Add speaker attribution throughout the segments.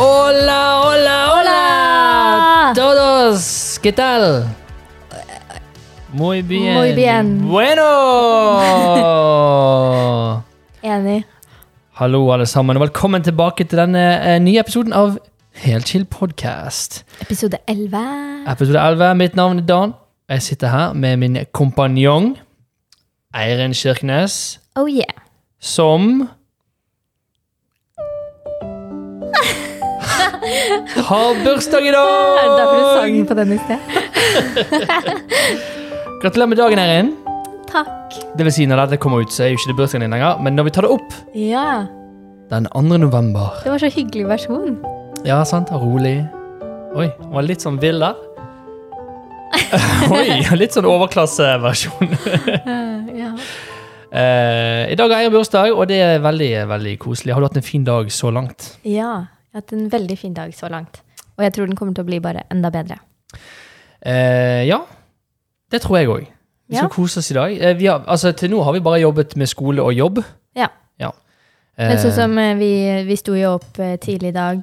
Speaker 1: Hola, hola, hola.
Speaker 2: Hola.
Speaker 1: Todos, ¿qué tal? Muy bien.
Speaker 2: Muy bien.
Speaker 1: Bueno.
Speaker 2: Enig.
Speaker 1: Hallo, alle sammen, og velkommen tilbake til denne eh, nye episoden av Helt chill podcast.
Speaker 2: Episode 11.
Speaker 1: Episode 11. Mitt navn er Dan. Jeg sitter her med min kompanjong Eirin Kirkenes,
Speaker 2: Oh yeah.
Speaker 1: som Har bursdag i
Speaker 2: Er det derfor du
Speaker 1: dag!
Speaker 2: sang på den i sted?
Speaker 1: Gratulerer med dagen, Eirin.
Speaker 2: Takk.
Speaker 1: Det vil si, når dette kommer ut, så er jo ikke det bursdagen din lenger, men når vi tar det opp
Speaker 2: Ja.
Speaker 1: den 2. november
Speaker 2: Det var så hyggelig versjon.
Speaker 1: Ja, sant. Rolig. Oi, han var litt sånn vill der. Oi, litt sånn overklasseversjon.
Speaker 2: ja.
Speaker 1: Eh, I dag er jeg bursdag, og det er veldig veldig koselig. Har du hatt en fin dag så langt?
Speaker 2: ja. Jeg har hatt en veldig fin dag så langt. Og jeg tror den kommer til å bli bare enda bedre.
Speaker 1: Eh, ja, det tror jeg òg. Vi skal
Speaker 2: Ja.
Speaker 1: kose oss i dag. Eh, vi har, altså, til nå har vi bare jobbet med skole og jobb.
Speaker 2: Ja.
Speaker 1: Ja.
Speaker 2: Men
Speaker 1: Eh,
Speaker 2: sånn som eh, vi, vi sto jo opp eh, tidlig i dag.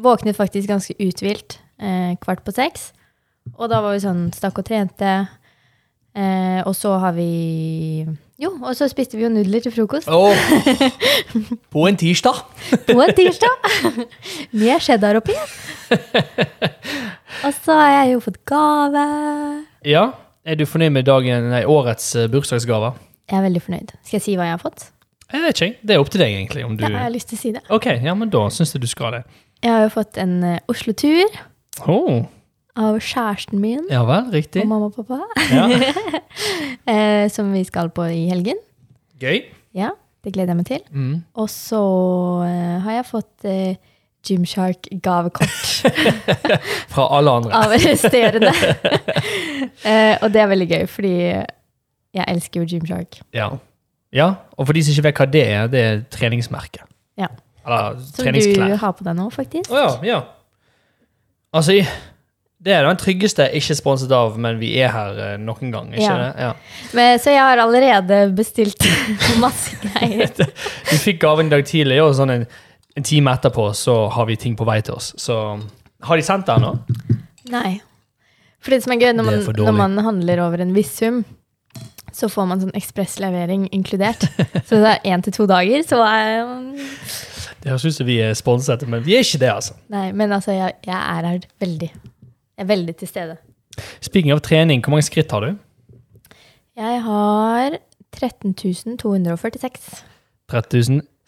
Speaker 2: Våknet faktisk ganske uthvilt eh, kvart på seks. Og da var vi sånn stakk og trente. Eh, og så har vi Jo, og så spiste vi jo nudler til frokost.
Speaker 1: Åh, på en tirsdag.
Speaker 2: På en tirsdag. Med cheddar oppi. Og så har jeg jo fått gave.
Speaker 1: Ja. Er du fornøyd med dagen, nei, årets eh, bursdagsgave?
Speaker 2: Jeg er veldig fornøyd. Skal jeg si hva jeg har fått?
Speaker 1: Jeg vet ikke. Det er opp til deg, egentlig. om du...
Speaker 2: Ja, jeg har lyst til å si det.
Speaker 1: Ok, ja, men da syns jeg du skal det.
Speaker 2: Jeg har jo fått en eh, Oslo-tur
Speaker 1: Oh,
Speaker 2: av kjæresten min
Speaker 1: ja vel, riktig.
Speaker 2: og mamma og pappa.
Speaker 1: Ja.
Speaker 2: eh, som vi skal på i helgen.
Speaker 1: Gøy.
Speaker 2: Ja, det gleder jeg meg til.
Speaker 1: Mm.
Speaker 2: Og så eh, har jeg fått eh, Gymshark-gavekort
Speaker 1: Fra alle andre.
Speaker 2: av resterende. eh, og det er veldig gøy, fordi jeg elsker jo Gymshark.
Speaker 1: Ja. ja. Og for de som ikke vet hva det er, det er treningsmerket.
Speaker 2: Ja.
Speaker 1: Eller
Speaker 2: Som du
Speaker 1: treningsklær.
Speaker 2: har på deg nå, faktisk.
Speaker 1: Å ja, ja. Altså, i- det er den tryggeste ikke sponset av, men vi er her eh, nok en gang. ikke
Speaker 2: Ja.
Speaker 1: det? Ja.
Speaker 2: Men, så jeg har allerede bestilt masse greier.
Speaker 1: Du fikk gaven i dag tidlig, og sånn en, en time etterpå så har vi ting på vei til oss. Så har de sendt den nå?
Speaker 2: Nei. For det som er gøy, når
Speaker 1: Det er
Speaker 2: man,
Speaker 1: for dårlig.
Speaker 2: når man handler over en viss sum, så får man sånn ekspresslevering inkludert. Så det er én til to dager, så eh,
Speaker 1: Det høres ut som vi er sponset, men vi er ikke det, altså.
Speaker 2: Nei, men altså, jeg, jeg er her veldig. Jeg er veldig til stede.
Speaker 1: Speaking av trening, hvor mange skritt har du?
Speaker 2: Jeg har 13.246.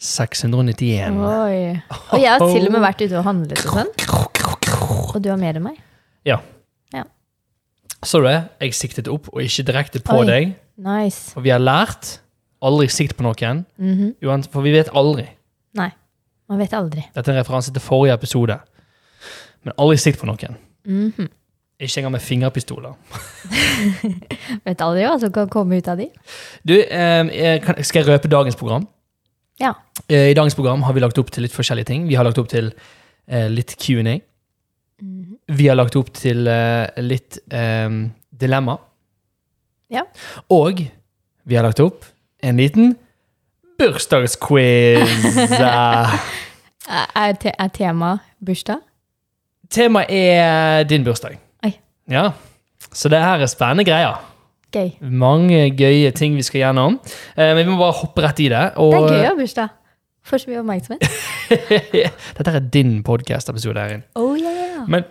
Speaker 1: 3691.
Speaker 2: Oi. Og jeg har til og med vært ute og handlet og sånn. Og du har mer enn meg.
Speaker 1: Ja.
Speaker 2: Ja.
Speaker 1: Så du det? Jeg siktet opp, og ikke direkte på
Speaker 2: Oi.
Speaker 1: deg.
Speaker 2: Nice.
Speaker 1: For vi har lært aldri sikt på noen.
Speaker 2: Mhm.
Speaker 1: uansett- For vi vet aldri.
Speaker 2: Nei. Man vet aldri.
Speaker 1: Dette er en referanse til forrige episode. Men aldri sikt på noen.
Speaker 2: Mhm.
Speaker 1: Ikke engang med fingerpistoler.
Speaker 2: Vet aldri hva som kan komme ut av de.
Speaker 1: Du, eh, jeg kan, skal jeg røpe dagens program?
Speaker 2: Ja.
Speaker 1: Eh, I dagens program har vi lagt opp til litt forskjellige ting. Vi har lagt opp til eh, litt Q&A. Vi har lagt opp til eh, litt eh, dilemma.
Speaker 2: Ja.
Speaker 1: Og vi har lagt opp en liten bursdagsquiz. Eh,
Speaker 2: Er, er te er tema bursdag?
Speaker 1: Temaet er din bursdag.
Speaker 2: Oi.
Speaker 1: Ja. Så det her er spennende greier.
Speaker 2: Gøy.
Speaker 1: Mange gøye ting vi skal gjennom. Eh, men vi må bare hoppe rett i det. Og, eh,
Speaker 2: Det er gøy å ha bursdag. Får så mye oppmerksomhet.
Speaker 1: Dette er din podcast-episode, Erin.
Speaker 2: Oh yeah.
Speaker 1: Men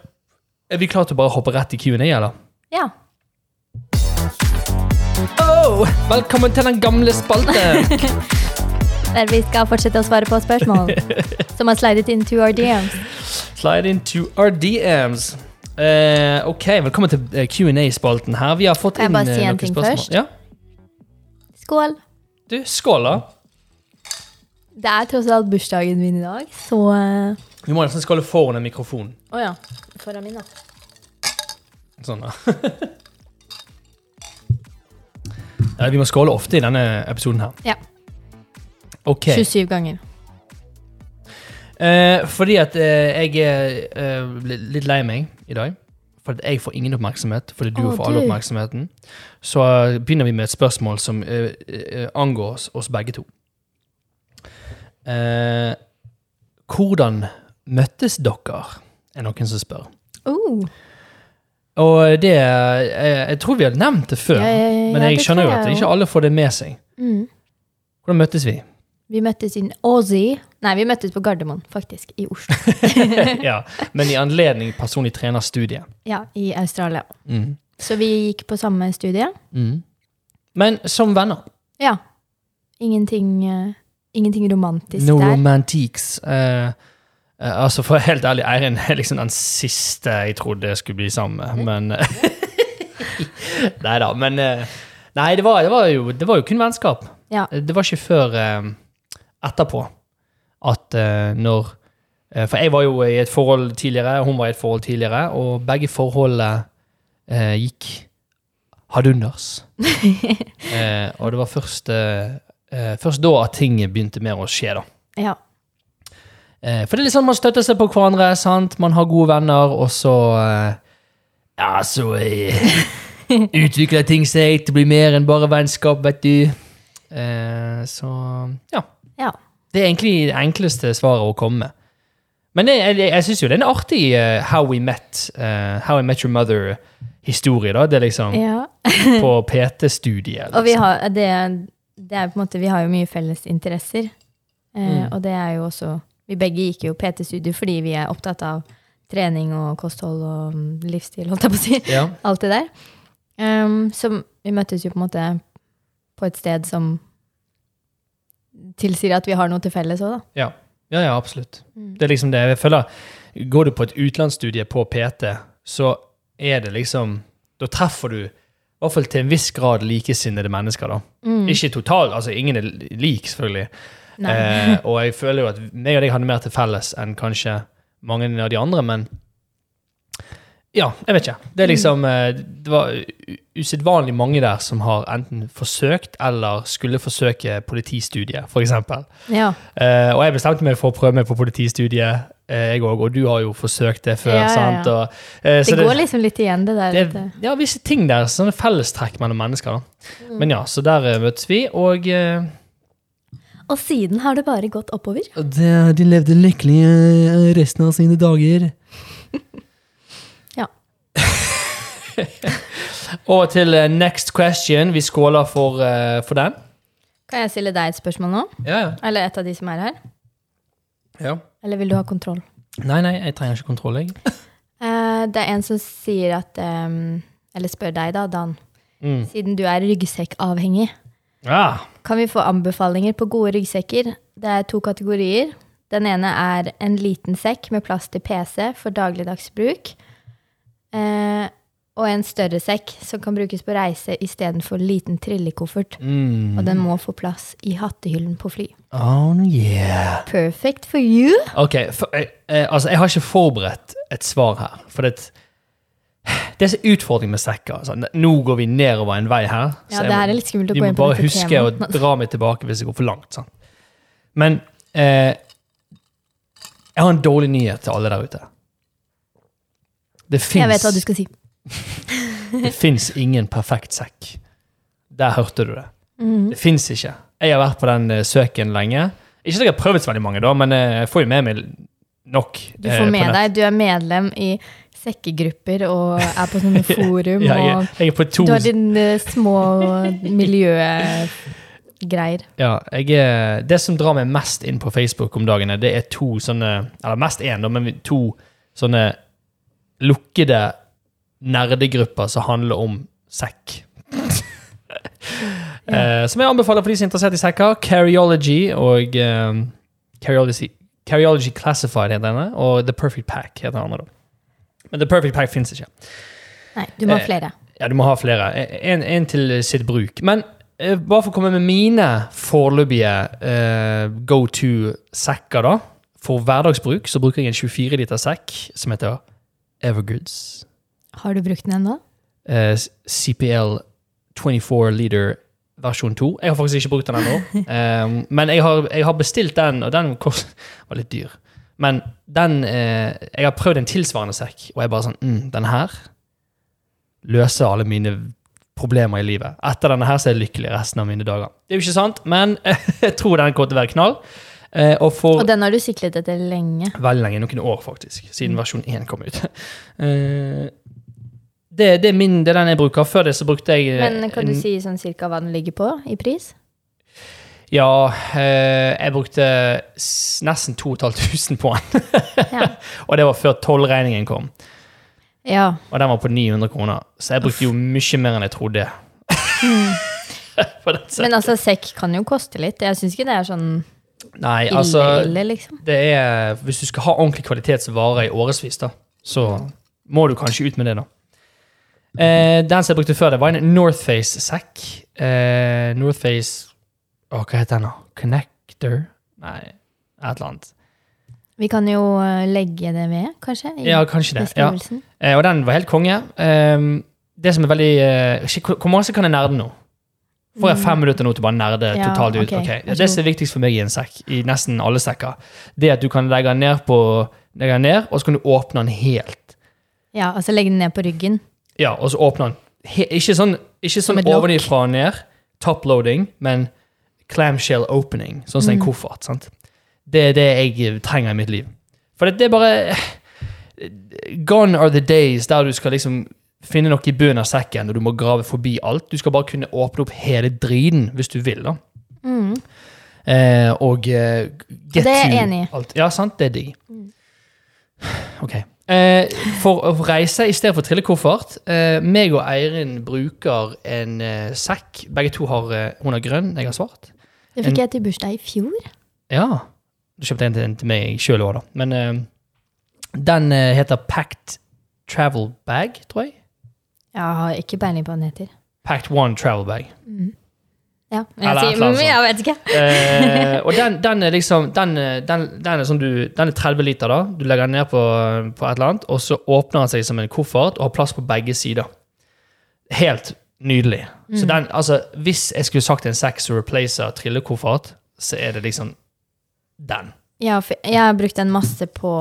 Speaker 1: er vi klare til å bare hoppe rett i Q&A, eller?
Speaker 2: Ja.
Speaker 1: Oh, velkommen til den gamle spalten!
Speaker 2: Der vi skal fortsette å svare på spørsmål som har slidet inn to our DMs.
Speaker 1: Slide into our DMs. Eh, ok, velkommen til eh, Q&A-spalten her. Vi har fått
Speaker 2: Kan jeg
Speaker 1: inn
Speaker 2: bare si
Speaker 1: eh,
Speaker 2: en
Speaker 1: noen
Speaker 2: ting
Speaker 1: spørsmål.
Speaker 2: først?
Speaker 1: Ja.
Speaker 2: Skål.
Speaker 1: Du, skål, da.
Speaker 2: Det er tross alt bursdagen min i dag, så eh,
Speaker 1: Vi må nesten skåle foran en mikrofon.
Speaker 2: Å ja. Foran min, da.
Speaker 1: Sånn, da. ja, vi må skåle ofte i denne episoden her.
Speaker 2: Ja.
Speaker 1: Ok.
Speaker 2: 27 ganger.
Speaker 1: Eh, fordi at eh, jeg er eh, li- litt lei meg i dag. For at jeg får ingen oppmerksomhet, fordi du
Speaker 2: Å,
Speaker 1: får all
Speaker 2: du.
Speaker 1: oppmerksomheten. Så eh, begynner vi med et spørsmål som eh, eh, angår oss, oss begge to. Eh, hvordan møttes dere? Er noen som spør.
Speaker 2: Oh,
Speaker 1: Og eh, det Jeg, jeg tror vi har nevnt det før,
Speaker 2: ja, ja, ja,
Speaker 1: men
Speaker 2: ja,
Speaker 1: jeg
Speaker 2: det
Speaker 1: skjønner jo
Speaker 2: tror
Speaker 1: at
Speaker 2: jeg
Speaker 1: ikke alle får det med seg.
Speaker 2: Mm.
Speaker 1: Hvordan møttes vi?
Speaker 2: Vi møttes i Aussie. Nei, vi møttes på Gardermoen, faktisk. I Oslo.
Speaker 1: ja, men i anledning personlig trenerstudiet.
Speaker 2: Ja, i Australia.
Speaker 1: Mm.
Speaker 2: Så vi gikk på samme studie.
Speaker 1: Mm. Men som venner.
Speaker 2: Ja. Ingenting, eh, ingenting romantisk
Speaker 1: No
Speaker 2: der.
Speaker 1: romantics. Eh, eh, altså, for helt ærlig, Eirin er liksom den siste jeg trodde jeg skulle bli sammen med, men Nei da, men eh, Nei, det var, det, var jo, det var jo kun vennskap.
Speaker 2: Ja.
Speaker 1: Det var ikke før eh, etterpå at eh, når eh, For jeg var jo i et forhold tidligere, hun var i et forhold tidligere, og begge forholdene eh, gikk hadunders. eh, og det var først, eh, eh, først da at ting begynte mer å skje, da.
Speaker 2: ja.
Speaker 1: Eh, for det er litt sånn man støtter seg på hverandre, sant? Man har gode venner, og så eh, Ja, så eh, utvikler ting seg til å bli mer enn bare vennskap, vet du. Eh, så ja.
Speaker 2: ja.
Speaker 1: Det er egentlig det enkleste svaret å komme med. Men det, jeg, jeg syns jo det er en artig eh, How We Met eh, How I Met Your Mother-historie, da. Det er liksom
Speaker 2: ja.
Speaker 1: på PT-studiet. Liksom.
Speaker 2: Og vi har, det, det er på en måte, vi har jo mye felles interesser. Eh,
Speaker 1: Mm.
Speaker 2: Og det er jo også Vi begge gikk jo PT-studio fordi vi er opptatt av trening og kosthold og mm, livsstil, holdt jeg på å si.
Speaker 1: ja.
Speaker 2: Alt det der. Ehm, så vi møttes jo på en måte på et sted som tilsier at vi har noe til felles òg, da.
Speaker 1: Ja, ja, ja absolutt. Det er liksom det jeg føler. Går du på et utenlandsstudie på PT, så er det liksom Da treffer du i hvert fall til en viss grad likesinnede mennesker, da. Ikke totalt, altså ingen er lik, selvfølgelig.
Speaker 2: Mm. Nei.
Speaker 1: Eh, og jeg føler jo at meg og deg hadde mer til felles enn kanskje mange av de andre, men ja, jeg vet ikke. Det er liksom eh, Det var u- usedvanlig mange der som har enten forsøkt eller skulle forsøke politistudiet, for eksempel.
Speaker 2: Ja.
Speaker 1: Eh, og jeg bestemte meg for å prøve meg på politistudiet, eh, jeg òg. Og du har jo forsøkt det før.
Speaker 2: Ja, ja, ja.
Speaker 1: sant? Og, eh,
Speaker 2: Det
Speaker 1: så
Speaker 2: går liksom litt igjen, det der.
Speaker 1: det
Speaker 2: at,
Speaker 1: er
Speaker 2: eh,
Speaker 1: ja, visse ting der. Sånne fellestrekk mellom mennesker. da.
Speaker 2: Mm.
Speaker 1: Men ja, så der eh, møttes vi, og eh,
Speaker 2: Og siden har det bare gått oppover.
Speaker 1: De levde lykkelige resten av sine dager.
Speaker 2: Ja.
Speaker 1: Over til eh, next question. Vi skåler for, eh, for den.
Speaker 2: Kan jeg stille deg et spørsmål nå?
Speaker 1: Ja, ja.
Speaker 2: Eller et av de som er her?
Speaker 1: ja.
Speaker 2: Eller vil du ha kontroll?
Speaker 1: Nei, nei, jeg trenger ikke kontroll, jeg.
Speaker 2: Eh, det er en som sier at ehm, Eller spør deg, da, Dan.
Speaker 1: Mm.
Speaker 2: Siden du er ryggsekkavhengig,
Speaker 1: Ah,
Speaker 2: kan vi få anbefalinger på gode ryggsekker? Det er to kategorier. Den ene er en liten sekk med plass til PC for dagligdags bruk. Eh, og en større sekk som kan brukes på reise istedenfor liten trillekoffert.
Speaker 1: mm.
Speaker 2: Og den må få plass i hattehyllen på fly.
Speaker 1: Oh, yeah.
Speaker 2: Perfect for you!
Speaker 1: Ok, for, eh, eh, altså jeg har ikke forberedt et svar her. For det, det er så utfordring med sekker. Altså, n- nå går vi nedover en vei her. så
Speaker 2: Ja,
Speaker 1: jeg
Speaker 2: det
Speaker 1: må-
Speaker 2: her er litt skummelt å
Speaker 1: vi
Speaker 2: gå
Speaker 1: må
Speaker 2: inn på
Speaker 1: bare
Speaker 2: dette
Speaker 1: huske å
Speaker 2: temaet.
Speaker 1: dra meg tilbake hvis jeg går for langt. Sant? Men eh, jeg har en dårlig nyhet til alle der ute. Det
Speaker 2: Jeg vet hva du
Speaker 1: fins
Speaker 2: skal si.
Speaker 1: ingen perfekt sekk. Der hørte du det.
Speaker 2: Mm.
Speaker 1: Det fins ikke. Jeg har vært på den eh, søken lenge. Ikke at jeg har prøvd så veldig mange, da, men eh, jeg får jo med meg nok.
Speaker 2: Du
Speaker 1: eh,
Speaker 2: får
Speaker 1: på
Speaker 2: med
Speaker 1: nett.
Speaker 2: deg, du er medlem i sekkegrupper og er på sånne forum
Speaker 1: Ja, jeg,
Speaker 2: og
Speaker 1: jeg er på to
Speaker 2: Du har dine små miljøgreier.
Speaker 1: ja, jeg er, Det som drar meg mest inn på Facebook om dagene, det er to sånne Eller mest én, da, men vi- to sånne lukkede nerdegrupper som handler om sekk. Eh, som jeg anbefaler for de som er interessert i sekker. Cariology og eh, Cariology, Cariology Classified heter denne, og The Perfect Pack heter den andre. da. Men The Perfect Pack fins ikke.
Speaker 2: Nei, du må ha
Speaker 1: Eh,
Speaker 2: flere.
Speaker 1: Ja, du må ha flere. En, en til sitt bruk. Men eh, bare for å komme med mine foreløpige eh, go to-sekker, da. For hverdagsbruk så bruker jeg en 24 liter sekk som heter Evergoods.
Speaker 2: Har du brukt den ennå?
Speaker 1: Eh, CPL 24 liter versjon 2. Jeg har faktisk ikke brukt den ennå. Eh, men jeg har, jeg har bestilt den, og den kost, var litt dyr. Men den eh, Jeg har prøvd en tilsvarende sekk, og jeg bare sånn mm, Den her løser alle mine problemer i livet. Etter denne her så er jeg lykkelig resten av mine dager. Det er jo ikke sant, men jeg tror den kommer til å være knall. Eh, og for
Speaker 2: Og den har du siklet etter lenge.
Speaker 1: veldig lenge, noen år faktisk,
Speaker 2: Mm.
Speaker 1: siden versjon 1 kom ut. Eh, det, det er min, det er den jeg bruker. Før det så brukte jeg eh,
Speaker 2: Men kan du si sånn cirka hva den ligger på i pris?
Speaker 1: Ja, eh, jeg brukte s- nesten 2500 på den.
Speaker 2: Ja.
Speaker 1: Og det var før tollregningen kom.
Speaker 2: ja.
Speaker 1: Og den var på 900 kroner. Så jeg brukte jo mye mer enn jeg trodde. For den se-
Speaker 2: Mm. Men altså, sekk kan jo koste litt. Jeg syns ikke det er sånn
Speaker 1: Nei,
Speaker 2: ille,
Speaker 1: altså
Speaker 2: ille, liksom.
Speaker 1: det er, Hvis du skal ha ordentlig kvalitetsvare i årevis, da, så må du kanskje ut med det, da. Eh, den som jeg brukte før det, var en Northface-sekk. Eh, Northface Å, hva heter den, da? Connector? Nei, et eller annet.
Speaker 2: Vi kan jo eh, legge det ved, kanskje? I
Speaker 1: Ja, kanskje det. Ja.
Speaker 2: beskrivelsen.
Speaker 1: Eh, og den var helt konge. Ehm, det som er veldig eh, shit, Hvor hvor mange kan jeg nerde nå? Får jeg fem minutter nå til å bare nerde
Speaker 2: Mm. Ja,
Speaker 1: totalt ut?
Speaker 2: ok,
Speaker 1: Ok,
Speaker 2: vær så
Speaker 1: Det
Speaker 2: god.
Speaker 1: som er viktigst for meg i en sekk, i nesten alle sekker, det er at du kan legge den ned, på- legge den ned og så kan du åpne den helt.
Speaker 2: Ja, altså legge den ned på ryggen.
Speaker 1: Ja, og så åpne den. He ikke sånn, ikke
Speaker 2: Som
Speaker 1: sånn
Speaker 2: et lokk.
Speaker 1: ovenifra og ned, top-loading, men clamshell opening, sånn
Speaker 2: Mm.
Speaker 1: som en koffert. sant? Det er det jeg trenger i mitt liv. For det, det er bare Gone are the days der du skal liksom finne noe i bunnen av sekken, og du må grave forbi alt. Du skal bare kunne åpne opp hele driten hvis du vil, da.
Speaker 2: Mm.
Speaker 1: Eh, og eh, get
Speaker 2: Det er jeg
Speaker 1: to
Speaker 2: enig i. Mm.
Speaker 1: Alt. Ja, sant? Det er digg. Ok. Eh, for å reise i stedet for trillekoffert. Eh, meg og Eirin bruker en eh, sekk. Begge to har eh, Hun har grønn, jeg har svart.
Speaker 2: Det
Speaker 1: En-
Speaker 2: fikk jeg til bursdag i fjor.
Speaker 1: Ja. Du kjøpte en til, en til meg sjøl òg, da. Men eh, den eh, heter Packed Travel Bag, tror jeg.
Speaker 2: Jeg har ikke peiling på hva den heter.
Speaker 1: Packed One Travel Bag.
Speaker 2: Ja, jeg,
Speaker 1: Eller et
Speaker 2: sier,
Speaker 1: eller annet
Speaker 2: mm, jeg vet ikke.
Speaker 1: Eh, og den, den er liksom den, er- den, den er sånn du Den er 30 liter, da. Du legger den ned på, på et eller annet, og så åpner den seg som en koffert og har plass på begge sider. Helt nydelig. Så den, altså, hvis jeg skulle sagt en sex som replacer trillekoffert, så er det liksom den.
Speaker 2: Ja, for jeg har brukt den masse på,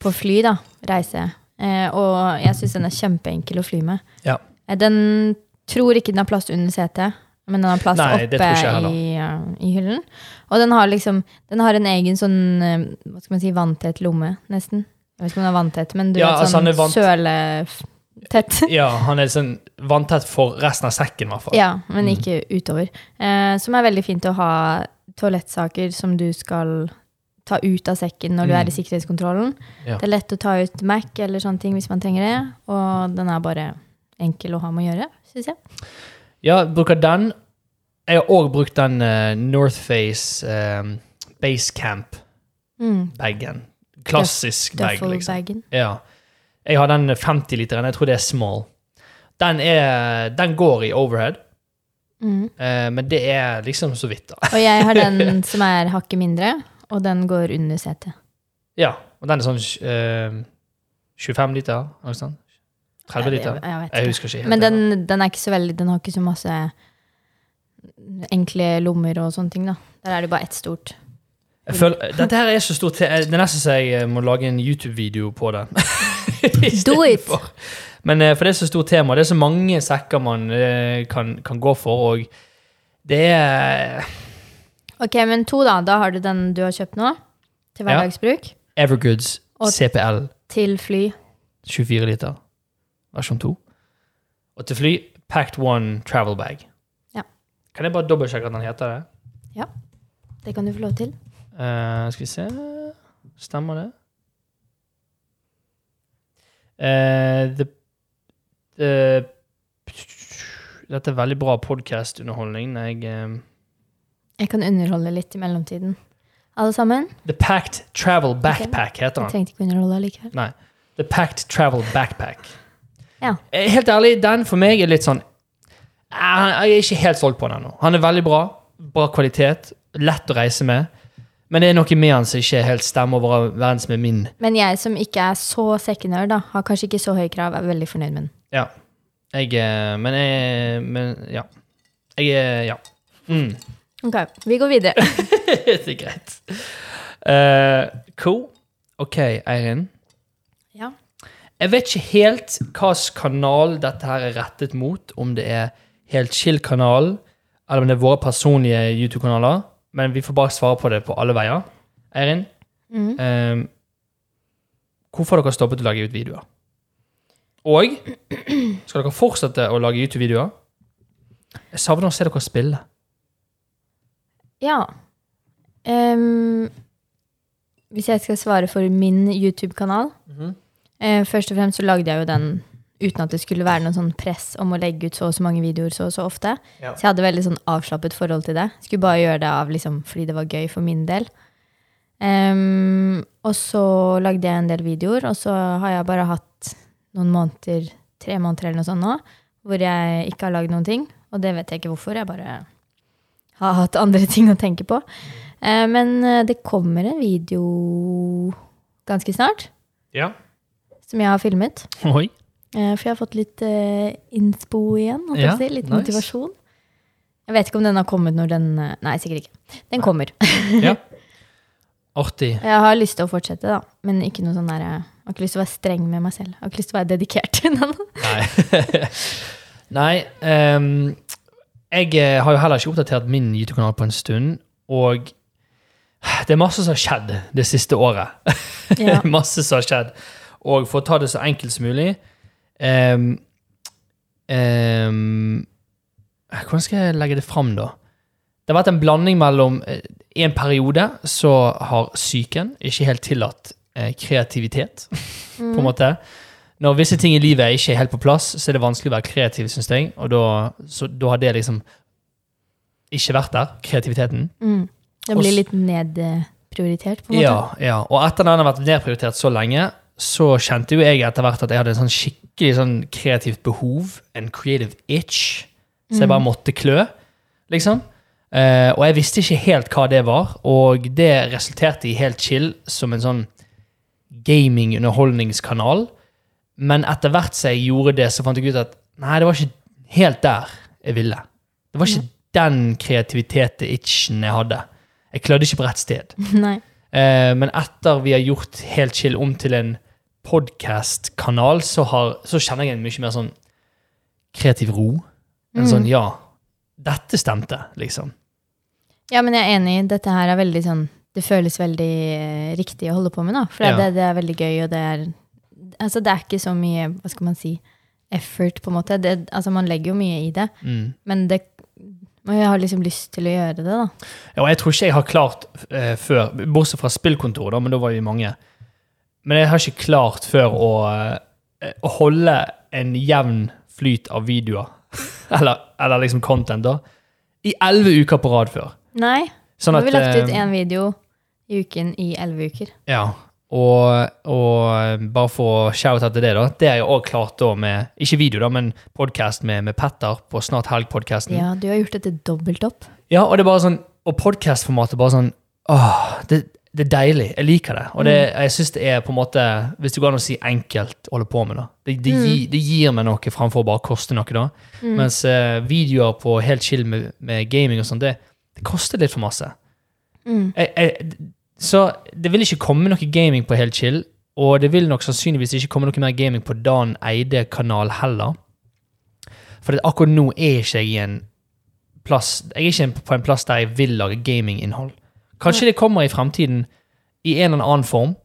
Speaker 2: på fly, da. Reise. Eh, og jeg syns den er kjempeenkel å fly med.
Speaker 1: Ja.
Speaker 2: Eh, Den tror ikke den har plass under setet, men den har plass
Speaker 1: Nei, det
Speaker 2: oppe
Speaker 1: tror ikke jeg heller.
Speaker 2: i, eh, i hyllen. Og den har liksom Den har en egen sånn eh, Hva skal man si vanntett lomme, nesten. Jeg vet ikke om den er vanntett, men du
Speaker 1: Ja,
Speaker 2: vet
Speaker 1: altså,
Speaker 2: sånn
Speaker 1: den er vant-
Speaker 2: søletett.
Speaker 1: Ja, han er sånn vanntett for resten av sekken, i hvert fall.
Speaker 2: Ja, men ikke utover. Eh, som er veldig fint å ha toalettsaker som du skal ta ut av sekken når du
Speaker 1: Mm.
Speaker 2: er i sikkerhetskontrollen.
Speaker 1: Ja.
Speaker 2: Det er lett å ta ut Mac eller sånne ting hvis man trenger det, og den er bare enkel å ha med å gjøre, syns jeg.
Speaker 1: Ja, bruker den. Jeg har òg brukt den eh, Northface eh, Basecamp-bagen.
Speaker 2: Mm.
Speaker 1: Klassisk bag, liksom.
Speaker 2: Duffel-bagen.
Speaker 1: Ja. Jeg har den 50-literen. Jeg tror det er small. Den, er, den går i overhead,
Speaker 2: Mm.
Speaker 1: eh, men det er liksom så vidt, da.
Speaker 2: Og jeg har den som er hakket mindre, og den går under setet.
Speaker 1: Ja, og den er sånn eh, 25 liter, noe sånt. 30
Speaker 2: Jeg,
Speaker 1: liter.
Speaker 2: jeg
Speaker 1: Jeg
Speaker 2: vet ikke.
Speaker 1: husker ikke helt.
Speaker 2: Men
Speaker 1: det.
Speaker 2: den, den er ikke så veldig Den har ikke så masse enkle lommer og sånne ting, da. Der er det bare ett stort.
Speaker 1: jeg føler, dette her er så stort til Det er nesten så jeg eh, må lage en YouTube-video på den.
Speaker 2: Do it!
Speaker 1: for. Men eh, for det er så stort tema, det er så mange sekker man eh, kan, kan gå for, og det er
Speaker 2: Ok, men to da. Da har du den du har kjøpt nå, til
Speaker 1: Ja.
Speaker 2: hverdagsbruk.
Speaker 1: Evergoods
Speaker 2: Og-
Speaker 1: CPL
Speaker 2: Til fly.
Speaker 1: 24 liter, versjon 2. Og til fly, Packed One Travel Bag.
Speaker 2: Ja.
Speaker 1: Kan jeg bare dobbeltsjekke at den heter det?
Speaker 2: Det kan du få lov til.
Speaker 1: Eh, skal vi se Stemmer det? Eh, the, the, dette er veldig bra podcast-underholdning. Jeg, eh,
Speaker 2: Jeg kan underholde litt i mellomtiden. Alle sammen?
Speaker 1: the Packed Travel Backpack heter den.
Speaker 2: Jeg trengte ikke underholde allikevel.
Speaker 1: Nei. The Packed Travel Backpack.
Speaker 2: Ja.
Speaker 1: Eh, Helt ærlig, den for meg er litt sånn Eh, Jeg er ikke helt solgt på den ennå. Han er veldig bra. Bra kvalitet. Lett å reise med. Men det er noe med han som ikke helt stemmer overens med min.
Speaker 2: Men jeg som ikke er så sekkenør, da, har kanskje ikke så høye krav, er veldig fornøyd med den.
Speaker 1: Ja. Jeg eh, Men jeg Men ja. Jeg eh, Ja. Mm.
Speaker 2: Ok, vi går videre.
Speaker 1: det er greit. Eh, cool. OK, Eirin.
Speaker 2: ja.
Speaker 1: Jeg vet ikke helt hvilken kanal dette her er rettet mot, om det er helt chill-kanalen, eller om det er våre personlige YouTube-kanaler, Men vi får bare svare på det på alle veier. Eirin,
Speaker 2: Mm.
Speaker 1: ehm, hvorfor har dere stoppet å lage ut videoer? Og skal dere fortsette å lage YouTube-videoer? Jeg savner å se dere spille.
Speaker 2: Ja. Ehm, hvis jeg skal svare for min YouTube-kanal eh, Først og fremst så lagde jeg jo den uten at det skulle være noe sånn press om å legge ut så og så mange videoer så og så ofte.
Speaker 1: Ja.
Speaker 2: Så jeg hadde veldig sånn avslappet forhold til det. Skulle bare gjøre det av liksom, fordi det var gøy for min del. Ehm, og så lagde jeg en del videoer, og så har jeg bare hatt noen måneder, tre måneder eller noe sånt nå, hvor jeg ikke har lagd noen ting. Og det vet jeg ikke hvorfor. Jeg bare har hatt andre ting å tenke på. Eh, men eh, det kommer en video ganske snart,
Speaker 1: Ja.
Speaker 2: som jeg har filmet.
Speaker 1: Oi.
Speaker 2: Eh, for jeg har fått litt eh, innspo igjen, holdt jeg
Speaker 1: Ja,
Speaker 2: på å si. litt
Speaker 1: nice.
Speaker 2: motivasjon. Jeg vet ikke om den har kommet når den eh, Nei, sikkert ikke. Den kommer.
Speaker 1: Ja. Artig.
Speaker 2: Jeg har lyst til å fortsette, da. Men ikke noe sånn der, jeg har ikke lyst til å være streng med meg selv. Jeg har ikke lyst til å være dedikert.
Speaker 1: Nei. Nei ehm, jeg eh, har jo heller ikke oppdatert min YouTube-kanal på en stund, og det er masse som har skjedd det siste året.
Speaker 2: ja.
Speaker 1: masse som har skjedd. Og for å ta det så enkelt som mulig ehm, ehm, Hvordan skal jeg legge det fram, da? Det har vært en blanding mellom eh, I en periode så har psyken ikke helt tillatt eh, kreativitet, på en måte. Når visse ting i livet ikke er helt på plass, så er det vanskelig å være kreativ, syns jeg. Og da, så, da har det liksom ikke vært der, kreativiteten.
Speaker 2: Mm. Det
Speaker 1: Og
Speaker 2: blir
Speaker 1: s-
Speaker 2: litt nedprioritert, på en måte.
Speaker 1: Ja, ja. Og etter den har vært nedprioritert så lenge, så kjente jo jeg etter hvert at jeg hadde en sånn skikkelig sånn kreativt behov, en creative itch, så jeg
Speaker 2: Mm.
Speaker 1: bare måtte klø, liksom. Eh, og jeg visste ikke helt hva det var, og det resulterte i helt chill som en sånn gaming-underholdningskanal. Men etter hvert som jeg gjorde det, så fant jeg ut at nei, det var ikke helt der jeg ville. Det var ikke den kreativitete-itchen jeg hadde. Jeg klødde ikke på rett sted.
Speaker 2: Nei.
Speaker 1: Eh, men etter vi har gjort Helt chill om til en podcast-kanal, så, har- så kjenner jeg en mye mer sånn kreativ ro. En
Speaker 2: Mm.
Speaker 1: sånn ja, dette stemte, liksom.
Speaker 2: Ja, men jeg er enig. Dette her er veldig sånn Det føles veldig eh, riktig å holde på med, da. For
Speaker 1: Ja.
Speaker 2: det, det er veldig gøy, og det er Altså, det er ikke så mye Hva skal man si? Effort, på en måte. Det, altså, man legger jo mye i det,
Speaker 1: Mm.
Speaker 2: men det men jeg har liksom lyst til å gjøre det, da.
Speaker 1: Ja, og jeg tror ikke jeg har klart eh, før, bortsett fra spillkontoret, da, men da var vi mange. Men jeg har ikke klart før å eh, å holde en jevn flyt av videoer, eller, eller liksom content, da, i elleve uker på rad før.
Speaker 2: Nei.
Speaker 1: Sånn
Speaker 2: nå har vi lagt ut
Speaker 1: eh,
Speaker 2: én video i uken i elleve uker.
Speaker 1: Ja, og, og bare for å shout etter det, da. Det har jeg òg klart da med Ikke video, da, men podkast med, med Petter på Snart helg-podkasten. Ja.
Speaker 2: Ja, du har gjort dette dobbelt opp.
Speaker 1: og det er bare sånn Og podkastformatet bare sånn Åh, det, det er deilig. Jeg liker det. Og det, jeg syns det er på en måte Hvis det går an å si enkelt å holde på med, da. Det, det, gir, det gir meg noe framfor å bare koste noe, da. Mens eh, videoer på helt chill med, med gaming og sånn, det, det koster litt for masse.
Speaker 2: Mm.
Speaker 1: jeg, jeg, så det vil ikke komme noe gaming på helt chill, og det vil nok sannsynligvis ikke komme noe mer gaming på Dan Eide-kanal heller. For det- akkurat nå er ikke jeg i en plass Jeg er ikke en- på en plass der jeg vil lage gaminginnhold. Kanskje det kommer i fremtiden i en eller annen form.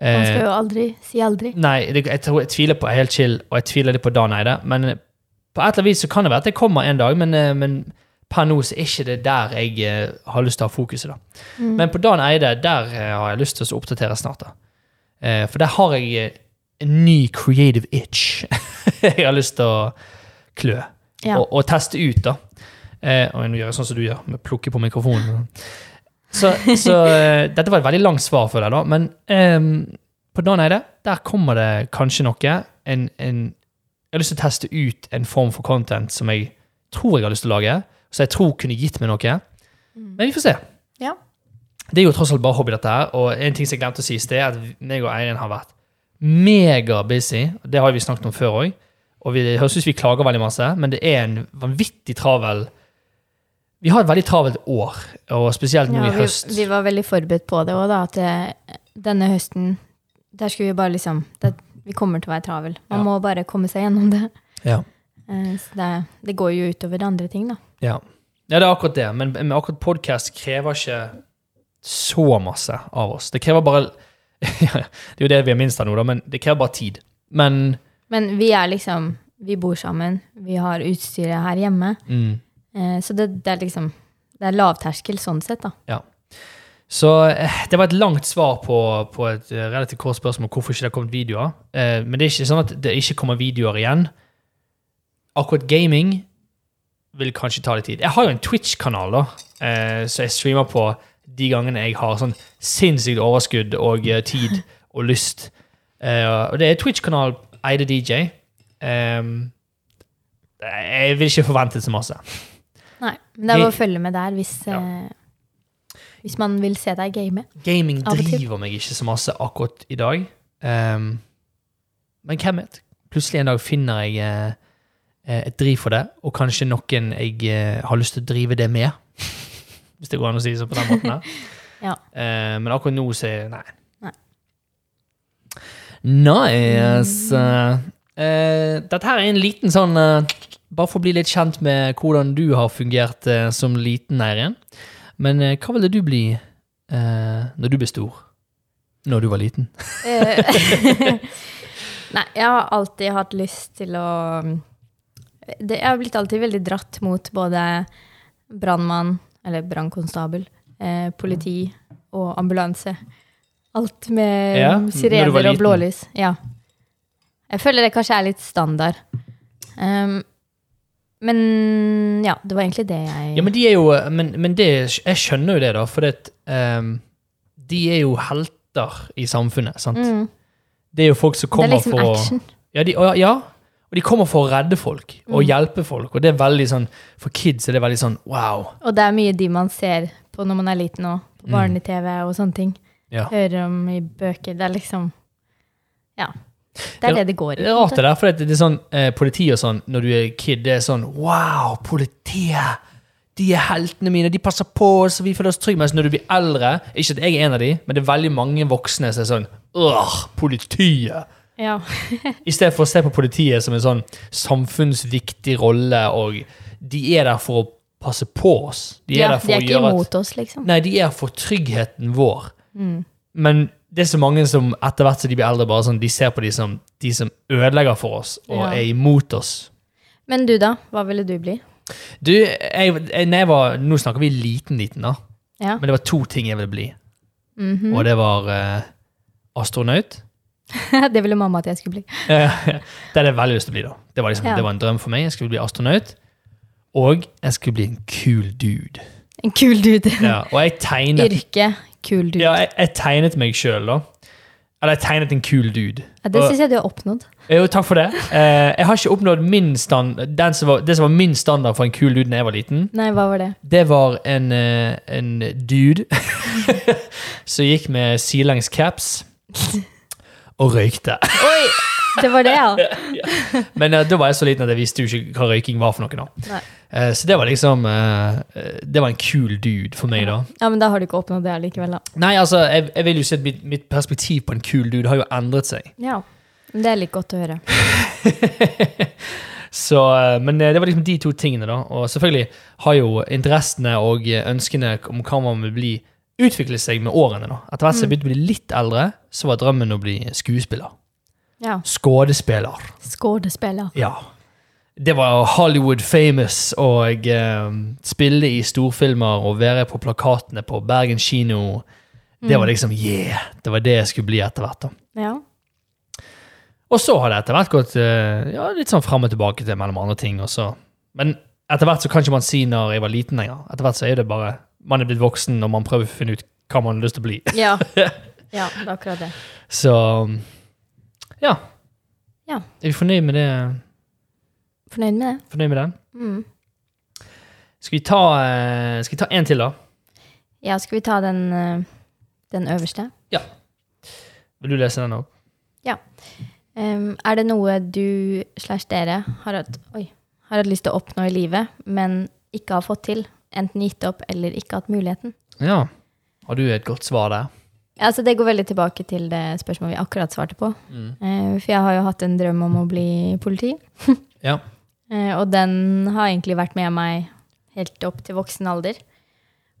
Speaker 2: Man
Speaker 1: Eh,
Speaker 2: skal jo aldri si aldri.
Speaker 1: Nei, det, jeg, tror, jeg tviler på helt chill, og jeg tviler litt på Dan Eide. Men eh, på et eller annet vis så kan det være at det kommer en dag, men, eh, men per nå så er ikke det der jeg eh, har lyst til å ha fokuset. da. Men på Dan Eide, der eh, har jeg lyst til å oppdatere snart. da. Eh, for der har jeg eh, en ny creative itch jeg har lyst til å klø
Speaker 2: Ja.
Speaker 1: og, og teste ut, da. Eh, og nå gjør jeg sånn som du gjør, med å plukke på mikrofonen. Så, så eh, dette var et veldig langt svar for deg, da. Men eh, på Dan Eide, der kommer det kanskje noe. En, en, jeg har lyst til å teste ut en form for content som jeg tror jeg har lyst til å lage. Som jeg tror kunne gitt meg noe. Men vi får se.
Speaker 2: Mm. Ja.
Speaker 1: Det er jo tross alt bare hobby, dette her. Og en ting som jeg glemte å si i sted, er at meg og Eirin har vært megabusy. Det har vi snakket om før òg. Og vi det høres ut som vi klager veldig masse, men det er en vanvittig travel Vi har et veldig travelt år, og spesielt nå
Speaker 2: Ja,
Speaker 1: i
Speaker 2: vi,
Speaker 1: høst.
Speaker 2: vi var veldig forberedt på det òg, da. At eh, denne høsten Der skulle vi bare liksom det, Vi kommer til å være travel. Man
Speaker 1: Ja.
Speaker 2: må bare komme seg gjennom det.
Speaker 1: Ja.
Speaker 2: Eh, så det, det går jo utover andre ting, da.
Speaker 1: Ja. Ja, det er akkurat det. Men, men akkurat podkast krever ikke så masse av oss. Det krever bare ja, Det er jo det vi er minst av nå, da, men det krever bare tid. Men
Speaker 2: Men vi er liksom Vi bor sammen. Vi har utstyret her hjemme.
Speaker 1: mm,
Speaker 2: Eh, så det, det er liksom Det er lavterskel sånn sett, da.
Speaker 1: Så eh, det var et langt svar på, på et eh, relativt kort spørsmål om hvorfor ikke det har kommet videoer. Eh, Men det er ikke sånn at det ikke kommer videoer igjen. Akkurat gaming vil kanskje ta litt tid. Jeg har jo en Twitch-kanal, da, eh, så jeg streamer på de gangene jeg har sånn sinnssykt overskudd og eh, tid og lyst. Eh, Og det er Twitch-kanal Eide DJ. Ehm, Jeg vil ikke forvente så masse.
Speaker 2: Nei, men det er
Speaker 1: Vi-
Speaker 2: bare å følge med der hvis
Speaker 1: Ja.
Speaker 2: eh, Hvis man vil se deg game.
Speaker 1: Gaming
Speaker 2: Av og til.
Speaker 1: driver meg ikke så masse akkurat i dag. Ehm, men hvem vet? Plutselig en dag finner jeg eh, eh, et driv for det, og kanskje noen jeg eh, har lyst til å drive det med. Hvis det går an å si det sånn på den måten her.
Speaker 2: Ja.
Speaker 1: Eh, men akkurat nå så er nei.
Speaker 2: Nei.
Speaker 1: Nice. Eh, dette her er en liten sånn eh, Bare for å bli litt kjent med hvordan du har fungert eh, som liten, Eirin. Men eh, hva ville du bli eh, når du ble stor? Når du var liten?
Speaker 2: Eh, Nei, jeg har alltid hatt lyst til å det, Jeg har blitt alltid veldig dratt mot både brannmann, eller brannkonstabel, eh, politi og ambulanse. Alt med
Speaker 1: Ja, når
Speaker 2: mm,
Speaker 1: du var
Speaker 2: sirener og
Speaker 1: liten.
Speaker 2: blålys. Ja. Jeg føler det kanskje er litt standard. Um, men ja, det var egentlig det jeg
Speaker 1: Ja, men de er jo eh, Men, men det, jeg skjønner jo det, da, for det, ehm, de er jo helter i samfunnet. sant?
Speaker 2: mm,
Speaker 1: Det er jo folk som
Speaker 2: Det er
Speaker 1: kommer
Speaker 2: liksom
Speaker 1: for å
Speaker 2: action.
Speaker 1: ja, de, og- ja, og de kommer for å redde folk
Speaker 2: Mm.
Speaker 1: og hjelpe folk, og det er veldig sånn For kids er det veldig sånn wow.
Speaker 2: Og det er mye de man ser på når man er liten òg. På
Speaker 1: Mm.
Speaker 2: barne-TV og sånne ting.
Speaker 1: Ja.
Speaker 2: Hører om i bøker. Det er liksom Ja. Det er
Speaker 1: Det-
Speaker 2: det det går i.
Speaker 1: Det er rart det der, for det, det er sånn eh, politi og sånn når du er kid, det er sånn wow, politiet! De er heltene mine, de passer på oss, og vi føler oss trygge. Mens når du blir eldre, ikke at jeg er en av de, men det er veldig mange voksne som er sånn åh, politiet!
Speaker 2: Ja.
Speaker 1: I stedet for å se på politiet som en sånn samfunnsviktig rolle, og de er der for å passe på oss. De er
Speaker 2: ja,
Speaker 1: der
Speaker 2: de
Speaker 1: for
Speaker 2: er
Speaker 1: å
Speaker 2: ikke
Speaker 1: gjøre at
Speaker 2: imot oss, liksom.
Speaker 1: Nei, de er for tryggheten vår.
Speaker 2: Mm.
Speaker 1: Men det er så mange som etter hvert som de blir eldre, bare sånn, de ser på de som de som ødelegger for oss, og
Speaker 2: Ja.
Speaker 1: er imot oss.
Speaker 2: Men du, da? Hva ville du bli?
Speaker 1: Du, jeg, jeg, når jeg var, Nå snakker vi liten, liten, da.
Speaker 2: Ja.
Speaker 1: Men det var to ting jeg ville bli.
Speaker 2: Mhm.
Speaker 1: Og det var eh, astronaut.
Speaker 2: det ville mamma at jeg skulle bli.
Speaker 1: Eh, det hadde jeg veldig lyst til å bli, da. Det var, liksom,
Speaker 2: Ja.
Speaker 1: det var en drøm for meg. Jeg skulle bli astronaut. Og jeg skulle bli en kul dude.
Speaker 2: En kul dude.
Speaker 1: Ja, og jeg tegnet,
Speaker 2: Yrke. Kul dude.
Speaker 1: ja, jeg, jeg tegnet meg sjøl, da. Eller jeg tegnet en kul dude.
Speaker 2: Ja, det
Speaker 1: Og-
Speaker 2: syns jeg du har oppnådd.
Speaker 1: Jo, takk for det. Eh, jeg har ikke oppnådd min stand, den som var, det som var min standard for en kul dude da jeg var liten.
Speaker 2: Nei, hva var det?
Speaker 1: Det var en, eh, en dude som gikk med sidelengs caps og røykte.
Speaker 2: Oi! Det var det, ja.
Speaker 1: Men eh, da var jeg så liten at jeg visste jo ikke hva røyking var for noe. da.
Speaker 2: Nei.
Speaker 1: Eh, så det var liksom eh, eh, Det var en kul dude for meg, da.
Speaker 2: Ja, Men da har du ikke oppnådd det allikevel, da.
Speaker 1: Nei, altså, jeg, jeg vil jo si at mitt, mitt perspektiv på en kul dude har jo endret seg.
Speaker 2: Ja. Men Det er litt godt å høre.
Speaker 1: Så, eh, men eh, det var liksom de to tingene, da. Og selvfølgelig har jo interessene og eh, ønskene om hva man vil bli, utviklet seg med årene. da. Etter hvert som jeg begynte å bli litt eldre, så var drømmen å bli skuespiller.
Speaker 2: Ja.
Speaker 1: Skuespiller.
Speaker 2: Skådespiller.
Speaker 1: Ja. Det var Hollywood famous og eh, spille i storfilmer og være på plakatene på Bergen kino. Det var liksom yeah! Det var det jeg skulle bli etter hvert. da.
Speaker 2: Ja.
Speaker 1: Og så har det etter hvert gått eh, ja, litt sånn fram og tilbake til mellom andre ting. Og så. Men etter hvert så kan ikke man si når jeg var liten lenger. Etter hvert så er det bare man er blitt voksen og man prøver å finne ut hva man har lyst til å bli.
Speaker 2: Ja. ja, det er akkurat det.
Speaker 1: Så ja.
Speaker 2: Ja.
Speaker 1: Er vi fornøyd med det?
Speaker 2: Fornøyd med det?
Speaker 1: Fornøyd med den?
Speaker 2: Mm.
Speaker 1: Skal vi ta, eh, skal vi ta en til, da?
Speaker 2: Ja, skal vi ta den, eh, den øverste?
Speaker 1: Vil du lese den òg?
Speaker 2: Em, er det noe du slash dere har hatt, oi, har hatt lyst til å oppnå i livet, men ikke har fått til? Enten gitt opp eller ikke hatt muligheten?
Speaker 1: Ja. Har du et godt svar der?
Speaker 2: Ja, altså det går veldig tilbake til det spørsmålet vi akkurat svarte på. Eh, for jeg har jo hatt en drøm om å bli politi,
Speaker 1: Ja.
Speaker 2: eh, og den har egentlig vært med meg helt opp til voksen alder.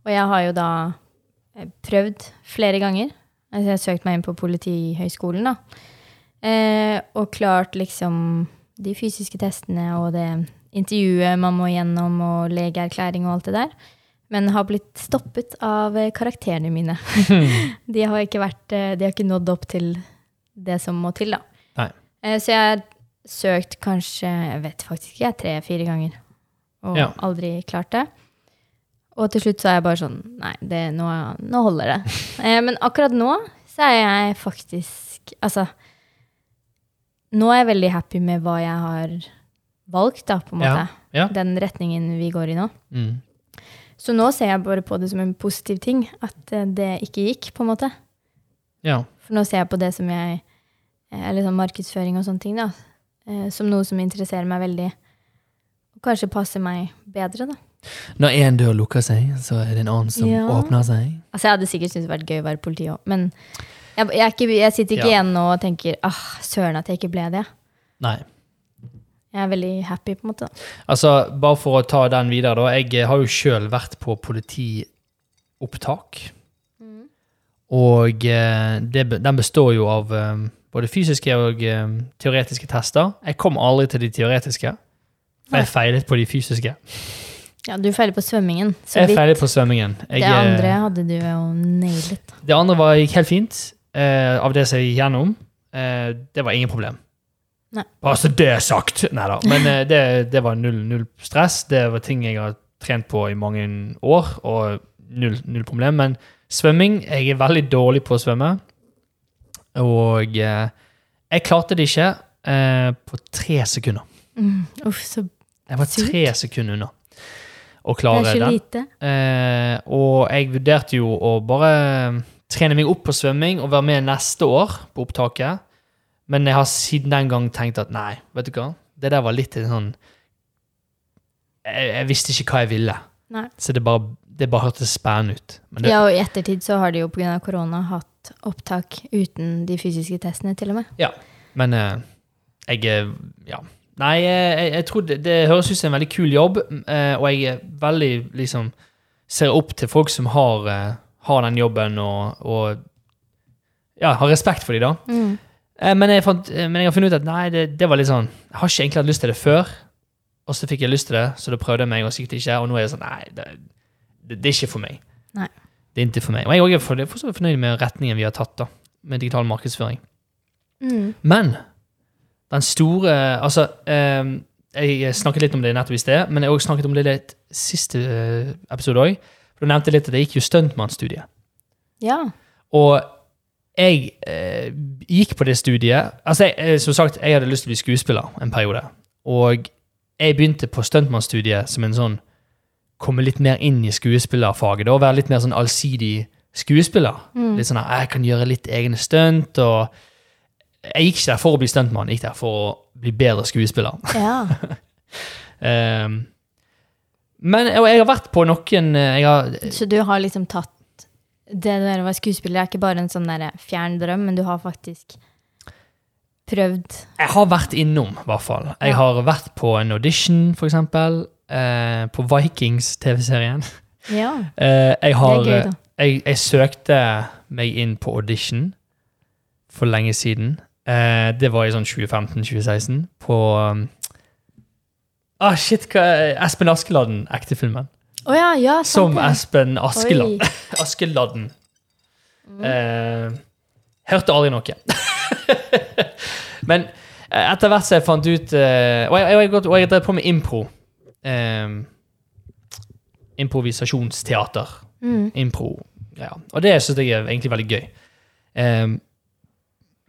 Speaker 2: Og jeg har jo da eh, prøvd flere ganger. Altså jeg har søkt meg inn på Politihøgskolen, da. Eh, og klart liksom de fysiske testene og det intervjuet man må gjennom, og legeerklæring og alt det der. Men har blitt stoppet av eh, karakterene mine. de, har ikke vært, eh, de har ikke nådd opp til det som må til, da.
Speaker 1: Nei.
Speaker 2: Eh, Så jeg har søkt kanskje, jeg vet faktisk ikke, jeg, tre-fire ganger. Og
Speaker 1: Ja.
Speaker 2: aldri klart det. Og til slutt så er jeg bare sånn Nei, det, nå, nå holder det. Eh, Men akkurat nå så er jeg faktisk Altså Nå er jeg veldig happy med hva jeg har valgt, da, på en måte.
Speaker 1: Ja, ja.
Speaker 2: Den retningen vi går i nå.
Speaker 1: Mm.
Speaker 2: Så nå ser jeg bare på det som en positiv ting, at eh, det ikke gikk, på en måte.
Speaker 1: Ja.
Speaker 2: For nå ser jeg på det som jeg Eller sånn markedsføring og sånne ting, da. eh, Som noe som interesserer meg veldig. Og kanskje passer meg bedre, da.
Speaker 1: Når én dør lukker seg, så er det en annen som
Speaker 2: Ja.
Speaker 1: åpner seg.
Speaker 2: Altså, jeg hadde sikkert syntes det vært gøy å være politi òg, men jeg, jeg, er ikke, jeg sitter
Speaker 1: Ja.
Speaker 2: ikke igjen nå og tenker ah, søren at jeg ikke ble det.
Speaker 1: Nei.
Speaker 2: Jeg er veldig happy, på en måte. da.
Speaker 1: Altså, bare for å ta den videre, da. Jeg eh, har jo sjøl vært på politiopptak. Og eh, det, be- den består jo av eh, både fysiske og eh, teoretiske tester. Jeg kom aldri til de teoretiske. for Jeg feilet på de fysiske.
Speaker 2: Ja, du feiler på svømmingen. Så
Speaker 1: Jeg
Speaker 2: vidt.
Speaker 1: feilet på svømmingen. Jeg,
Speaker 2: Det
Speaker 1: eh,
Speaker 2: andre hadde du jo nailet.
Speaker 1: det andre var, gikk helt fint eh, av det som jeg gikk gjennom. Eh, det var ingen problem.
Speaker 2: Nei.
Speaker 1: Bare så det er sagt! Nei da. Men eh, det, det var null, null stress. Det var ting jeg har trent på i mange år, og null, null problem. Men svømming Jeg er veldig dårlig på å svømme. Og eh, jeg klarte det ikke eh, på tre sekunder.
Speaker 2: Mm. Uff, så det
Speaker 1: Jeg var tre sekunder unna å klare
Speaker 2: er
Speaker 1: den.
Speaker 2: så lite.
Speaker 1: Eh, og jeg vurderte jo å bare eh, trene meg opp på svømming og være med neste år på opptaket. Men jeg har siden den gang tenkt at nei, vet du hva, det der var litt en sånn jeg, jeg visste ikke hva jeg ville.
Speaker 2: Nei.
Speaker 1: Så det bare, det bare hørtes spennende ut. Men det,
Speaker 2: Ja, og i ettertid så har de jo pga. korona hatt opptak uten de fysiske testene, til og med.
Speaker 1: men eh, jeg eh, Ja. Nei, eh, jeg, jeg tror det, det høres ut som en veldig kul jobb, eh, og jeg er veldig liksom ser opp til folk som har, eh, har den jobben og, og ja, har respekt for dem, da. Eh, Men jeg, fant, eh, men jeg har funnet ut at nei, det, det var litt sånn Jeg har ikke egentlig hatt lyst til det før, og så fikk jeg lyst til det, så da prøvde jeg meg, og sikkert ikke, og nå er jeg sånn Nei, det, det, det er ikke for meg.
Speaker 2: Nei.
Speaker 1: Det er ikke for meg. Og jeg er også for, for så vidt fornøyd med retningen vi har tatt, da, med digital markedsføring.
Speaker 2: Mm.
Speaker 1: Men den store Altså, eh, jeg snakket litt om det nettopp i sted, men jeg har også snakket om det litt siste eh, episode òg. Du nevnte litt at jeg gikk jo stuntmannsstudiet.
Speaker 2: Ja.
Speaker 1: Og jeg eh, gikk på det studiet Altså, jeg, eh, som sagt, jeg hadde lyst til å bli skuespiller en periode. Og jeg begynte på stuntmannsstudiet som en sånn Komme litt mer inn i skuespillerfaget. da, Være litt mer sånn allsidig skuespiller.
Speaker 2: Mm.
Speaker 1: Litt sånn at jeg kan gjøre litt egne stunt. og Jeg gikk ikke der for å bli stuntmann, jeg gikk der for å bli bedre skuespiller.
Speaker 2: ja.
Speaker 1: Ehm, men og jeg har vært på noen eh, jeg har,
Speaker 2: Så du har liksom tatt Det der å være skuespiller er ikke bare en sånn der fjern drøm, men du har faktisk prøvd.
Speaker 1: Jeg har vært innom, i hvert fall. Jeg
Speaker 2: Ja.
Speaker 1: har vært på en audition, for eksempel. Eh, på Vikings-TV-serien.
Speaker 2: Ja.
Speaker 1: Eh, jeg har
Speaker 2: Det er gøy, da.
Speaker 1: jeg, jeg søkte meg inn på audition for lenge siden. Eh, det var i sånn 2015-2016. På um, Ah, shit! Hva, Espen Askeladden, ektefilmen.
Speaker 2: Å ja, ja, sant
Speaker 1: Som
Speaker 2: det.
Speaker 1: Espen Askeladden.
Speaker 2: Oi.
Speaker 1: Askeladden. Eh, hørte aldri noe. Men eh, etter hvert som jeg fant ut eh, Og jeg, og jeg, og jeg drev på med impro. Eh, improvisasjonsteater.
Speaker 2: Mm.
Speaker 1: Impro. Ja. Og det syns jeg er egentlig veldig gøy. Eh,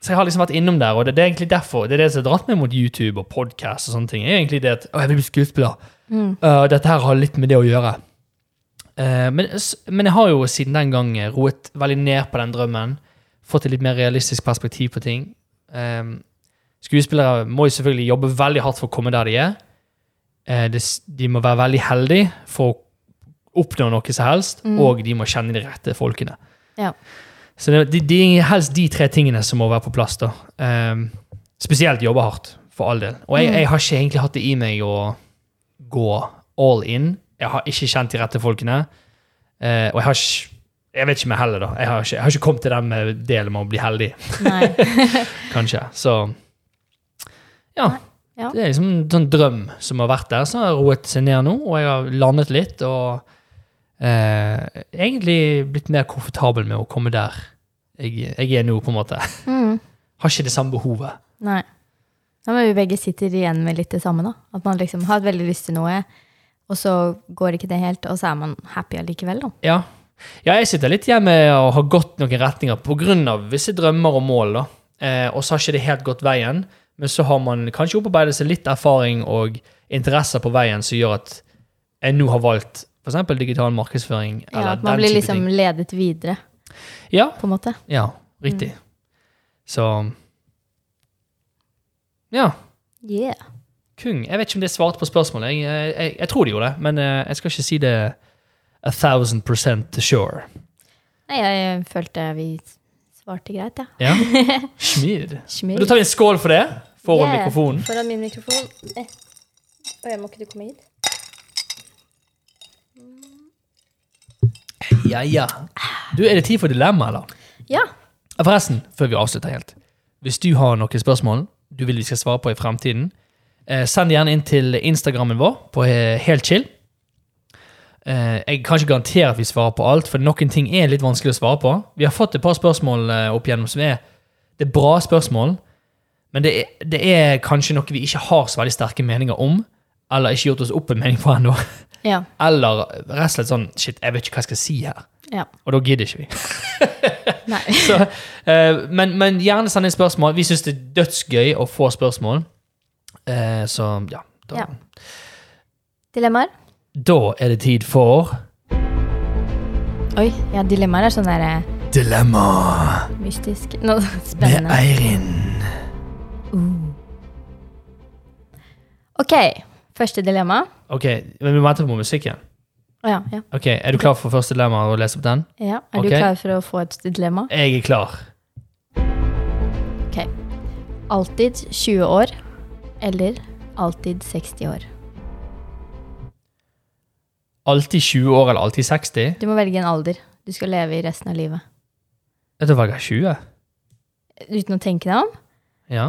Speaker 1: så jeg har liksom vært innom der, og det, det er egentlig derfor det er det som har dratt meg mot YouTube og podkast. Og sånne ting, er egentlig det at å, jeg vil bli skuespiller.
Speaker 2: Mm.
Speaker 1: Uh, dette her har litt med det å gjøre. Eh, men, s- men jeg har jo siden den gang eh, roet veldig ned på den drømmen. Fått et litt mer realistisk perspektiv på ting. Eh, skuespillere må jo selvfølgelig jobbe veldig hardt for å komme der de er. Eh, det s- de må være veldig heldige for å oppnå noe som helst,
Speaker 2: Mm.
Speaker 1: og de må kjenne de rette folkene.
Speaker 2: Ja.
Speaker 1: Så det, det, det er helst de tre tingene som må være på plass. da. Eh, spesielt jobbe hardt, for all del. Og jeg,
Speaker 2: Mm.
Speaker 1: jeg har ikke egentlig hatt det i meg å gå all in. Jeg har ikke kjent de rette folkene. Eh, og jeg har ikke Jeg vet ikke om jeg er heldig, da. Jeg har ikke, jeg har ikke kommet til den med delen med å bli heldig,
Speaker 2: Nei.
Speaker 1: kanskje. Så ja.
Speaker 2: Nei, ja.
Speaker 1: Det er liksom en sånn drøm som har vært der, som har roet seg ned nå, og jeg har landet litt og eh, egentlig blitt mer komfortabel med å komme der jeg, jeg er nå, på en måte.
Speaker 2: Mm.
Speaker 1: Har ikke det samme behovet.
Speaker 2: Nei. Ja, men vi begge sitter igjen med litt det samme, da. At man liksom har veldig lyst til noe, og så går ikke det helt, og så er man happy allikevel, da.
Speaker 1: Ja. ja, jeg sitter litt hjemme og har gått noen retninger pga. visse drømmer og mål, da. Eh, og så har ikke det helt gått veien, men så har man kanskje opparbeidet seg litt erfaring og interesser på veien som gjør at jeg nå har valgt f.eks. digital markedsføring.
Speaker 2: Ja,
Speaker 1: Eller
Speaker 2: at man
Speaker 1: den
Speaker 2: blir
Speaker 1: type
Speaker 2: liksom ledet videre,
Speaker 1: ting. Ja,
Speaker 2: på en måte.
Speaker 1: ja, riktig.
Speaker 2: Mm.
Speaker 1: Så Ja.
Speaker 2: Yeah.
Speaker 1: Kung. Jeg vet ikke om det svarte på spørsmålet. Jeg, jeg, jeg, jeg tror det gjorde det, men eh, jeg skal ikke si det a thousand percent sure.
Speaker 2: Nei, jeg følte vi svarte greit, ja.
Speaker 1: Ja. Schmied. Men
Speaker 2: Schmidt.
Speaker 1: Da tar vi en skål for det, foran
Speaker 2: Yeah.
Speaker 1: mikrofonen.
Speaker 2: Foran min mikrofon. Eh. Å, jeg må ikke du komme hit?
Speaker 1: Ja, ja. Du, Er det tid for dilemma, eller?
Speaker 2: Ja.
Speaker 1: Ja, Forresten, før vi avslutter helt. Hvis du har noen spørsmål du vil vi skal svare på i fremtiden, eh, send gjerne inn til Instagrammen vår på eh, Helt chill. Eh, jeg kan ikke garantere at vi svarer på alt, for noen ting er litt vanskelig å svare på. Vi har fått et par spørsmål eh, opp igjennom som er det er bra spørsmål, men det er, det er kanskje noe vi ikke har så veldig sterke meninger om, eller ikke gjort oss opp en mening på ennå.
Speaker 2: Ja.
Speaker 1: Eller rett og slett sånn Shit, jeg vet ikke hva jeg skal si her.
Speaker 2: ja.
Speaker 1: Og da gidder ikke vi.
Speaker 2: Nei.
Speaker 1: Så, eh, men, men gjerne send inn spørsmål. Vi syns det er dødsgøy å få spørsmål. Eh, så ja da,
Speaker 2: Ja. Dilemmaer?
Speaker 1: da er det tid for
Speaker 2: Oi, ja, dilemmaer er sånn der eh,
Speaker 1: Dilemma
Speaker 2: mystisk Nå,
Speaker 1: med
Speaker 2: Spennende.
Speaker 1: Eirin.
Speaker 2: Ok, første dilemma.
Speaker 1: Ok, men Vi må vente på musikken.
Speaker 2: Å Ja, ja.
Speaker 1: Ok, Er du klar for første dilemma og lese opp den?
Speaker 2: Ja, Er
Speaker 1: Ok.
Speaker 2: du klar for å få et dilemma?
Speaker 1: Jeg er klar.
Speaker 2: Ok. Alltid 20 år eller alltid 60 år?
Speaker 1: Alltid 20 år eller alltid 60?
Speaker 2: Du må velge en alder du skal leve i resten av livet.
Speaker 1: Da velger jeg 20.
Speaker 2: Uten å tenke deg om.
Speaker 1: Ja.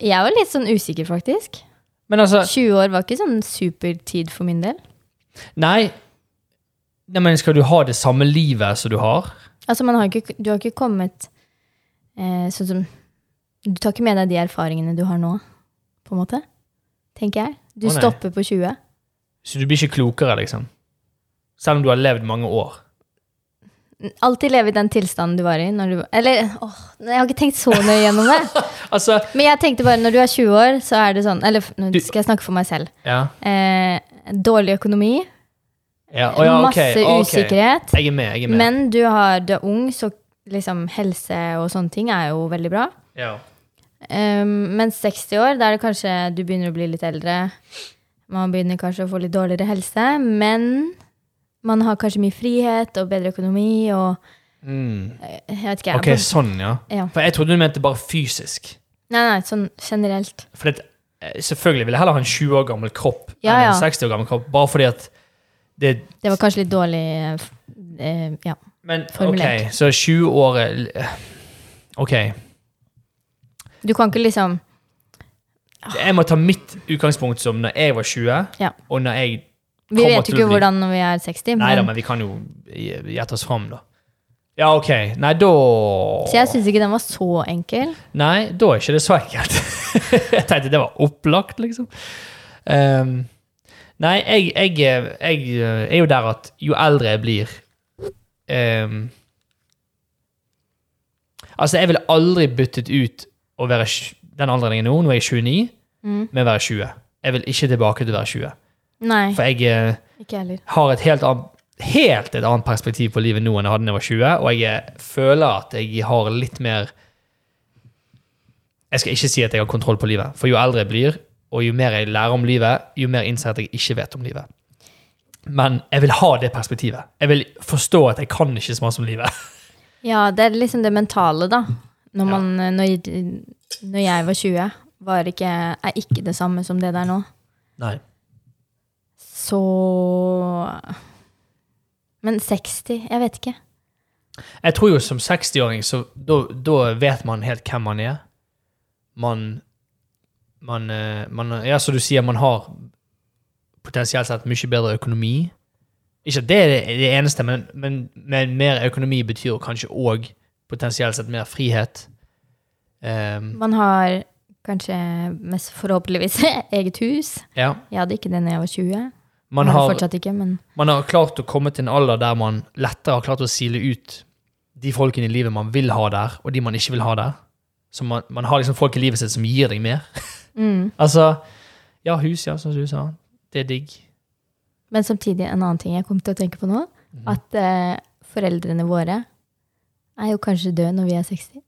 Speaker 2: Jeg var litt sånn usikker, faktisk.
Speaker 1: Men altså
Speaker 2: 20 år var ikke sånn supertid for min del.
Speaker 1: Nei. Nei, men Skal du ha det samme livet som du har?
Speaker 2: Altså, man har ikke, Du har ikke kommet eh, sånn som Du tar ikke med deg de erfaringene du har nå, på en måte. Tenker jeg. Du
Speaker 1: Å, nei.
Speaker 2: stopper på 20.
Speaker 1: Så du blir ikke klokere, liksom? Selv om du har levd mange år?
Speaker 2: Alltid leve i den tilstanden du var i. Når du, eller, åh, nei, jeg har ikke tenkt så nøye gjennom det.
Speaker 1: Altså
Speaker 2: Men jeg tenkte bare, når du er 20 år, så er det sånn Eller f- nå
Speaker 1: Du-
Speaker 2: skal jeg snakke for meg selv.
Speaker 1: Ja.
Speaker 2: Eh, dårlig økonomi,
Speaker 1: ja. Å, ja ok, Ah,
Speaker 2: masse
Speaker 1: ok.
Speaker 2: usikkerhet.
Speaker 1: Jeg er med. jeg er med.
Speaker 2: Men du, har, du er ung, så liksom helse og sånne ting er jo veldig bra.
Speaker 1: ja.
Speaker 2: Um, men 60 år, da er det kanskje du begynner å bli litt eldre. Man begynner kanskje å få litt dårligere helse, men man har kanskje mye frihet og bedre økonomi og
Speaker 1: Mm.
Speaker 2: Jeg vet ikke. jeg er
Speaker 1: Ok, sånn, ja.
Speaker 2: på- ja.
Speaker 1: For jeg trodde du mente bare fysisk.
Speaker 2: Nei, nei, sånn generelt.
Speaker 1: For det, eh, selvfølgelig vil jeg heller ha en 20 år gammel kropp
Speaker 2: Ja,
Speaker 1: enn
Speaker 2: ja.
Speaker 1: en 60 år gammel kropp, bare fordi at det
Speaker 2: Det var kanskje litt dårlig eh, f- eh, Ja.
Speaker 1: Men
Speaker 2: Formulert.
Speaker 1: ok, så 20 år eh, Ok.
Speaker 2: Du kan ikke liksom
Speaker 1: Jeg må ta mitt utgangspunkt som når jeg var 20,
Speaker 2: Ja.
Speaker 1: og når jeg
Speaker 2: Vi
Speaker 1: Kommer
Speaker 2: vet jo
Speaker 1: til å
Speaker 2: ikke
Speaker 1: bli-
Speaker 2: hvordan når vi er 60,
Speaker 1: Nei da,
Speaker 2: men,
Speaker 1: men vi kan jo gjette oss fram, da. Ja, OK. Nei, da
Speaker 2: så jeg syns ikke den var så enkel.
Speaker 1: Nei, da er ikke det så enkelt. jeg tenkte det var opplagt, liksom. Ehm, nei, jeg, jeg, jeg, eh, er jo der at jo eldre jeg blir ehm, Altså, jeg ville aldri byttet ut å være tj- den alderen jeg er nå, nå er jeg 29,
Speaker 2: Mm.
Speaker 1: med å være 20. Jeg vil ikke tilbake til å være 20.
Speaker 2: Nei,
Speaker 1: For jeg eh,
Speaker 2: ikke heller.
Speaker 1: har et helt annet, helt et annet perspektiv på livet nå enn jeg hadde da jeg var 20, og jeg eh, føler at jeg har litt mer Jeg skal ikke si at jeg har kontroll på livet, for jo eldre jeg blir, og jo mer jeg lærer om livet, jo mer innser jeg at jeg ikke vet om livet. Men jeg vil ha det perspektivet. Jeg vil forstå at jeg kan ikke så mye om livet.
Speaker 2: Ja, det er liksom det mentale, da. Når,
Speaker 1: Ja.
Speaker 2: man, eh, når, når jeg var 20, var ikke, er ikke det samme som det der nå. så Men 60? Jeg vet ikke.
Speaker 1: Jeg tror jo som 60-åring, så da, da vet man helt hvem man er. Man, man, eh, man Ja, som du sier, man har potensielt sett mye bedre økonomi. Ikke at det er det- det eneste, men, men, men mer økonomi betyr jo kanskje òg potensielt sett mer frihet. Ehm,
Speaker 2: Man har kanskje mest forhåpentligvis eget hus.
Speaker 1: ja.
Speaker 2: Jeg hadde ikke det da jeg var 20.
Speaker 1: Man
Speaker 2: Jeg har
Speaker 1: har,
Speaker 2: det fortsatt ikke, men
Speaker 1: man har klart å komme til en alder der man lettere har klart å sile ut de folkene i livet man vil ha der, og de man ikke vil ha der. Så man, man har liksom folk i livet sitt som gir deg mer.
Speaker 2: mm.
Speaker 1: Altså, ja, hus, ja, som du sa. Det er digg.
Speaker 2: Men samtidig en annen ting jeg kom til å tenke på nå.
Speaker 1: Mhm.
Speaker 2: At eh, foreldrene våre er jo kanskje døde når vi er 60.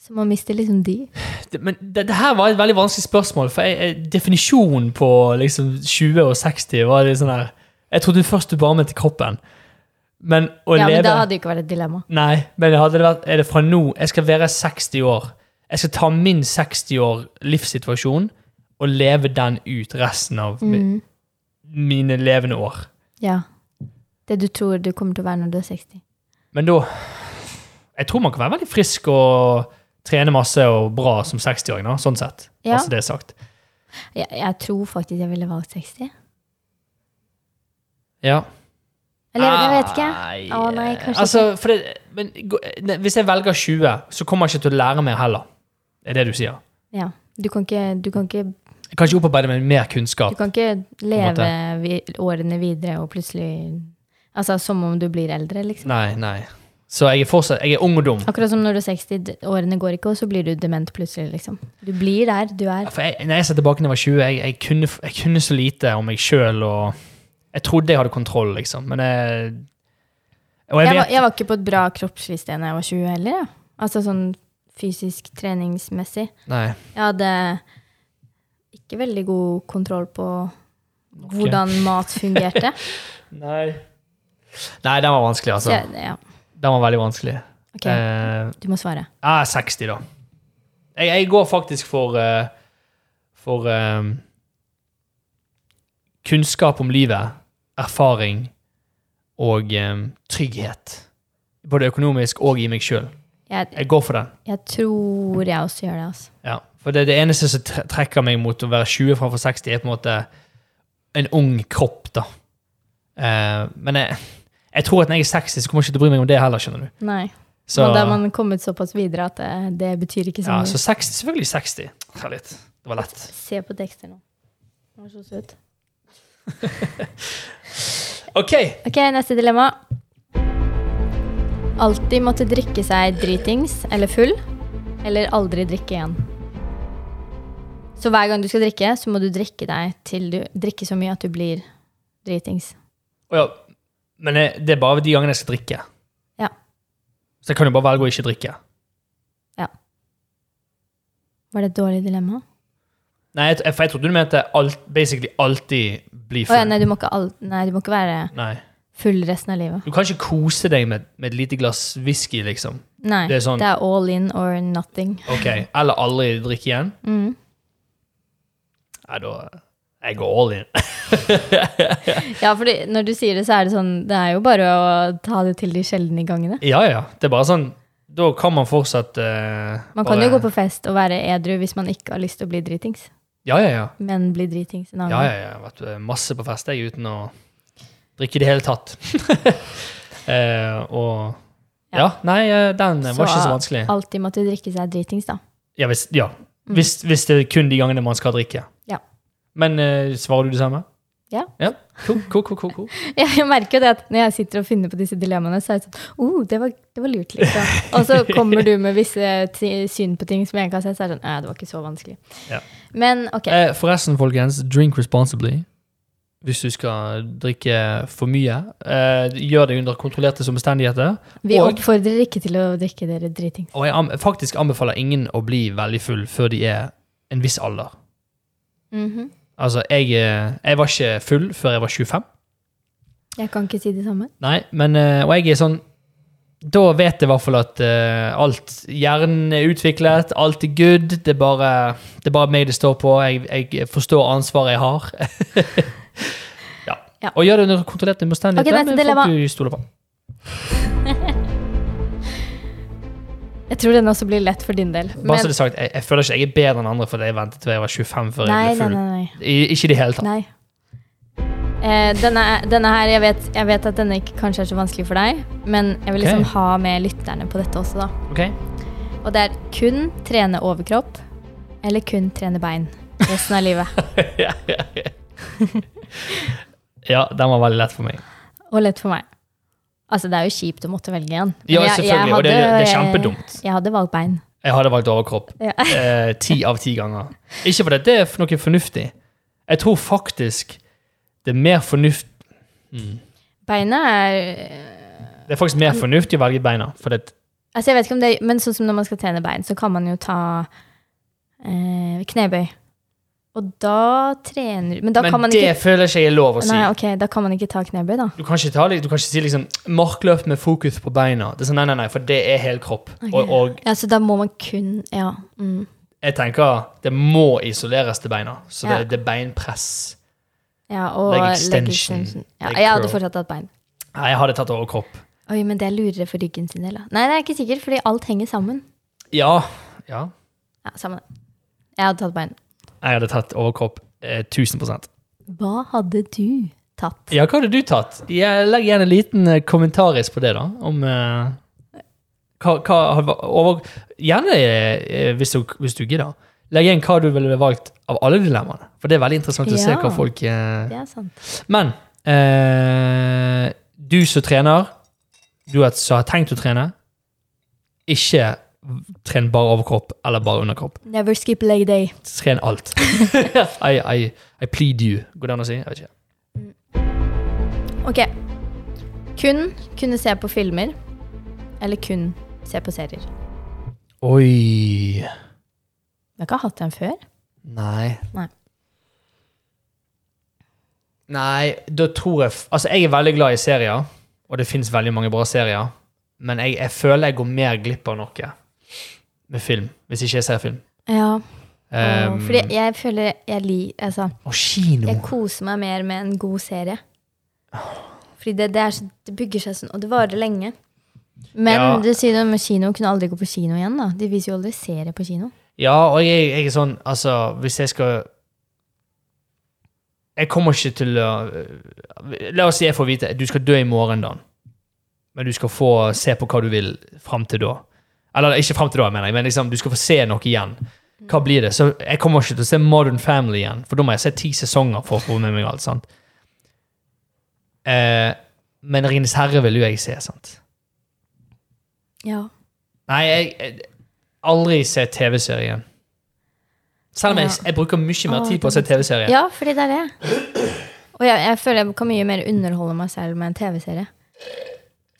Speaker 2: Så man mister liksom de.
Speaker 1: Det, men det, det her var et veldig vanskelig spørsmål, for jeg, jeg, definisjonen på liksom 20 og 60 var litt sånn her Jeg trodde først du bare mente kroppen, men å
Speaker 2: ja,
Speaker 1: leve
Speaker 2: men da hadde det jo ikke vært et dilemma.
Speaker 1: Nei, men hadde det vært, er det fra nå Jeg skal være 60 år. Jeg skal ta min 60 år livssituasjon og leve den ut resten av mi-
Speaker 2: Mm.
Speaker 1: mine levende år.
Speaker 2: Ja. Det du tror du kommer til å være når du er 60.
Speaker 1: Men da Jeg tror man kan være veldig frisk og trene masse og bra som 60-åring, da, sånn sett.
Speaker 2: Ja.
Speaker 1: Altså det er sagt.
Speaker 2: Jeg, jeg tror faktisk jeg ville valgt 60.
Speaker 1: Ja.
Speaker 2: Eller jeg, jeg vet ikke.
Speaker 1: Nei,
Speaker 2: Å, nei, kanskje
Speaker 1: altså, for det, men, gå- ne, hvis jeg velger 20, så kommer jeg ikke til å lære mer heller. Det er det du sier.
Speaker 2: Ja. Du kan ikke, du kan ikke,
Speaker 1: Jeg kan ikke opparbeide meg mer
Speaker 2: du
Speaker 1: kunnskap.
Speaker 2: kan ikke leve
Speaker 1: måte.
Speaker 2: vi, årene videre og plutselig Altså som om du blir eldre, liksom.
Speaker 1: Nei, nei. Så jeg er fortsatt jeg er ung og dum.
Speaker 2: Akkurat som når du er 60, d- årene går ikke, og så blir du dement plutselig, liksom. Du blir der du er.
Speaker 1: For jeg, når jeg ser tilbake da jeg var 20, jeg, jeg, kunne, f- jeg kunne så lite om meg sjøl. Jeg trodde jeg hadde kontroll, liksom, men jeg, og
Speaker 2: Jeg
Speaker 1: jeg
Speaker 2: var,
Speaker 1: vet,
Speaker 2: jeg var ikke på et bra kroppslig sted da jeg var 20 heller. Ja. Altså sånn fysisk treningsmessig.
Speaker 1: Nei.
Speaker 2: Jeg hadde ikke veldig god kontroll på hvordan mat fungerte.
Speaker 1: Nei. Nei, den var vanskelig, altså.
Speaker 2: Så jeg, ja,
Speaker 1: Den var veldig vanskelig.
Speaker 2: ok,
Speaker 1: Eh,
Speaker 2: du må svare.
Speaker 1: ja, 60, da. Jeg, jeg går faktisk for eh, For eh, kunnskap om livet, erfaring og eh, trygghet. Både økonomisk og i meg sjøl.
Speaker 2: Jeg,
Speaker 1: Jeg går for den.
Speaker 2: jeg tror jeg også gjør det, altså.
Speaker 1: Ja. For det, det eneste som tre- trekker meg mot å være 20 framfor 60, er på en måte en ung kropp, da. Eh, men jeg, jeg tror at når jeg er 60, så kommer jeg ikke til å bry meg om det heller, skjønner du.
Speaker 2: Nei.
Speaker 1: Så-
Speaker 2: Men da har man liksom- kommet såpass videre at det, det betyr ikke så
Speaker 1: Ja,
Speaker 2: mye.
Speaker 1: så 60, selvfølgelig 60. Ta litt. Det var lett.
Speaker 2: Se på tekster nå. Den var så søt.
Speaker 1: Ok,
Speaker 2: Ok, neste dilemma. Alltid måtte drikke seg dritings eller full, eller aldri drikke igjen. Så hver gang du skal drikke, så må du drikke deg til du drikke så mye at du blir dritings.
Speaker 1: Å ja. men eh, det er bare de gangene jeg skal drikke.
Speaker 2: Ja.
Speaker 1: Så jeg kan jo bare velge å ikke drikke.
Speaker 2: Var det et dårlig dilemma?
Speaker 1: Nei, jeg, for jeg trodde du mente alt, basically alltid bli
Speaker 2: Å ja,
Speaker 1: full.
Speaker 2: nei, du må ikke, al nei, du må ikke være
Speaker 1: nei.
Speaker 2: full resten av livet.
Speaker 1: Du kan ikke kose deg med, med et lite glass whisky, liksom.
Speaker 2: Nei,
Speaker 1: Det er sånn-
Speaker 2: all in or nothing.
Speaker 1: Ok, Eller aldri drikke igjen.
Speaker 2: Mm.
Speaker 1: Nei, da Jeg går all in.
Speaker 2: Ja, fordi når du sier det, så er det sånn Det er jo bare å ta det til de sjeldne gangene.
Speaker 1: Ja, ja. Det er bare sånn Da kan man fortsatt eh,
Speaker 2: Man kan
Speaker 1: bare-
Speaker 2: jo gå på fest og være edru hvis man ikke har lyst til å bli dritings.
Speaker 1: Ja, ja, ja.
Speaker 2: Men bli dritings en annen
Speaker 1: Ja,
Speaker 2: gang.
Speaker 1: ja, ja. Jeg har vært eh, masse på fest jeg, uten å drikke i det hele tatt. eh, og
Speaker 2: Ja.
Speaker 1: ja. nei, eh, den
Speaker 2: Så,
Speaker 1: var ikke så vanskelig.
Speaker 2: Alltid måtte drikke seg dritings, da.
Speaker 1: Ja, hvis, ja. hvis, hvis det er kun de gangene man skal drikke.
Speaker 2: Mm. Ja.
Speaker 1: Men eh, svarer du det samme?
Speaker 2: Ja.
Speaker 1: ja. Cool, cool, cool, cool, cool.
Speaker 2: Jeg merker jo det at når jeg sitter og finner på disse dilemmaene, så er det sånn oh, det var, det var lurt, liksom. Og så kommer du med visse ti- syn på ting som jeg ikke har sett, så er det sånn Nei, det var ikke så vanskelig.
Speaker 1: Ja.
Speaker 2: Men ok.
Speaker 1: Eh, forresten, folkens, drink responsibly. Hvis du skal drikke for mye, eh, gjør det under kontrollerte omstendigheter.
Speaker 2: Vi
Speaker 1: og-
Speaker 2: oppfordrer ikke til å drikke dere dritings.
Speaker 1: Og jeg am faktisk anbefaler ingen å bli veldig full før de er en viss alder.
Speaker 2: Mhm.
Speaker 1: Altså, jeg, eh, jeg var ikke full før jeg var 25.
Speaker 2: Jeg kan ikke si det samme.
Speaker 1: Nei, men eh, Og jeg er sånn Da vet jeg i hvert fall at eh, alt Hjernen er utviklet, alt er good. Det er bare, det er bare meg det står på. Jeg, jeg forstår ansvaret jeg har.
Speaker 2: Ja.
Speaker 1: Og gjør det under kontrollerte omstendigheter
Speaker 2: Ok,
Speaker 1: med
Speaker 2: neste
Speaker 1: folk
Speaker 2: dilemma.
Speaker 1: du stoler på.
Speaker 2: Jeg tror den også blir lett for din del.
Speaker 1: Bare så det er sagt, jeg, jeg føler ikke jeg er bedre enn andre fordi jeg ventet til jeg var 25 før
Speaker 2: nei,
Speaker 1: jeg ble
Speaker 2: nei,
Speaker 1: full.
Speaker 2: nei, nei.
Speaker 1: I, ikke i det hele tatt.
Speaker 2: Nei. Eh, denne, denne her, jeg vet, jeg vet at denne ikke kanskje er så vanskelig for deg, men jeg
Speaker 1: Ok.
Speaker 2: vil liksom ha med lytterne på dette også, da.
Speaker 1: Ok?
Speaker 2: Og det er kun trene overkropp, eller kun trene bein resten av livet.
Speaker 1: Ja, den var veldig lett for meg.
Speaker 2: Og lett for meg. Altså, det er jo kjipt å måtte velge en. Men
Speaker 1: Ja,
Speaker 2: jeg- jeg
Speaker 1: selvfølgelig. Og det,
Speaker 2: hadde-
Speaker 1: det er kjempedumt.
Speaker 2: Jeg hadde valgt bein.
Speaker 1: Jeg hadde valgt overkropp
Speaker 2: Ja.
Speaker 1: eh, ti av ti ganger. Ikke fordi det er noe fornuftig. Jeg tror faktisk det er mer fornuft
Speaker 2: Beinet er
Speaker 1: Det er faktisk mer fornuftig å velge beina. For det,
Speaker 2: Altså, jeg vet ikke om det Men sånn som når man skal trene bein, så kan man jo ta eh, knebøy. Og da trener Men da kan
Speaker 1: men
Speaker 2: man
Speaker 1: det
Speaker 2: ikke
Speaker 1: føler jeg ikke er lov å si.
Speaker 2: Nei, ok, da kan man ikke ta knebøy, da.
Speaker 1: Du kan ikke, ta, du kan ikke si liksom, 'markløp med fokus på beina'. Det er sånn, Nei, nei, nei, for det er hel kropp. Og, og
Speaker 2: Ja, så da må man kun Ja. Mm.
Speaker 1: jeg tenker det må isoleres til beina. Så
Speaker 2: Ja.
Speaker 1: det, det er beinpress.
Speaker 2: ja og
Speaker 1: Leg extension,
Speaker 2: leg extension. Ja,
Speaker 1: leg
Speaker 2: jeg hadde
Speaker 1: curl.
Speaker 2: fortsatt hatt bein.
Speaker 1: Nei, jeg hadde tatt overkropp.
Speaker 2: Oi, men det er lurere for ryggen sin del, da. Nei, det er ikke sikkert, fordi alt henger sammen.
Speaker 1: Ja. ja.
Speaker 2: Ja, sammen. Jeg hadde tatt bein.
Speaker 1: Jeg hadde tatt overkropp eh, 1000
Speaker 2: Hva hadde du tatt?
Speaker 1: Ja, hva hadde du tatt? Jeg legg igjen en liten eh, kommentaris på det, da. Om eh, hva, hva hadde vært- over, Gjerne, eh, hvis du, hvis du gidder, legg igjen hva du ville valgt av alle dilemmaene. For det er veldig interessant å se
Speaker 2: Ja.
Speaker 1: hva folk eh,
Speaker 2: Det er sant.
Speaker 1: Men eh, du som trener, du har- som har tenkt å trene, ikke tren bare overkropp eller bare underkropp.
Speaker 2: Never skip leg day.
Speaker 1: Tren alt. I, I, I plead you. Går det an å si? Jeg vet ikke.
Speaker 2: Ok. Kun kunne se på filmer, eller kun se på serier.
Speaker 1: Oi.
Speaker 2: Du har ikke hatt den før?
Speaker 1: Nei.
Speaker 2: Nei.
Speaker 1: Nei, da tror jeg f- Altså, jeg er veldig glad i serier, og det fins veldig mange bra serier, men jeg, jeg føler jeg går mer glipp av noe med film, hvis ikke jeg ser film.
Speaker 2: Ja.
Speaker 1: Um,
Speaker 2: og- fordi jeg føler jeg li... Altså,
Speaker 1: og kino.
Speaker 2: Jeg koser meg mer med en god serie. Fordi det, det, er, så- det bygger seg sånn, og det varer lenge. Men
Speaker 1: Ja.
Speaker 2: du sier noe med kino, kunne aldri gå på kino igjen, da. De viser jo aldri serie på kino.
Speaker 1: Ja, og jeg, jeg er sånn, altså, hvis jeg skal Jeg kommer ikke til å eh, La oss si jeg får vite du skal dø i morgen, Dan. Men du skal få se på hva du vil fram til da. Eller ikke fram til da, mener jeg, men liksom, du skal få se noe igjen. Hva blir det? Så jeg kommer ikke til å se Modern Family igjen, for da må jeg se ti sesonger for å få med meg alt. sant? Eh, men Ringenes herre vil jo jeg se, sant?
Speaker 2: Ja.
Speaker 1: Nei, jeg, jeg aldri se TV-serier igjen. Selv om jeg,
Speaker 2: Ja.
Speaker 1: jeg bruker mye mer
Speaker 2: Åh,
Speaker 1: tid på å se
Speaker 2: det er
Speaker 1: TV-serier.
Speaker 2: ja, fordi det er det. Og jeg, jeg føler jeg kan mye mer underholde meg selv med en TV-serie.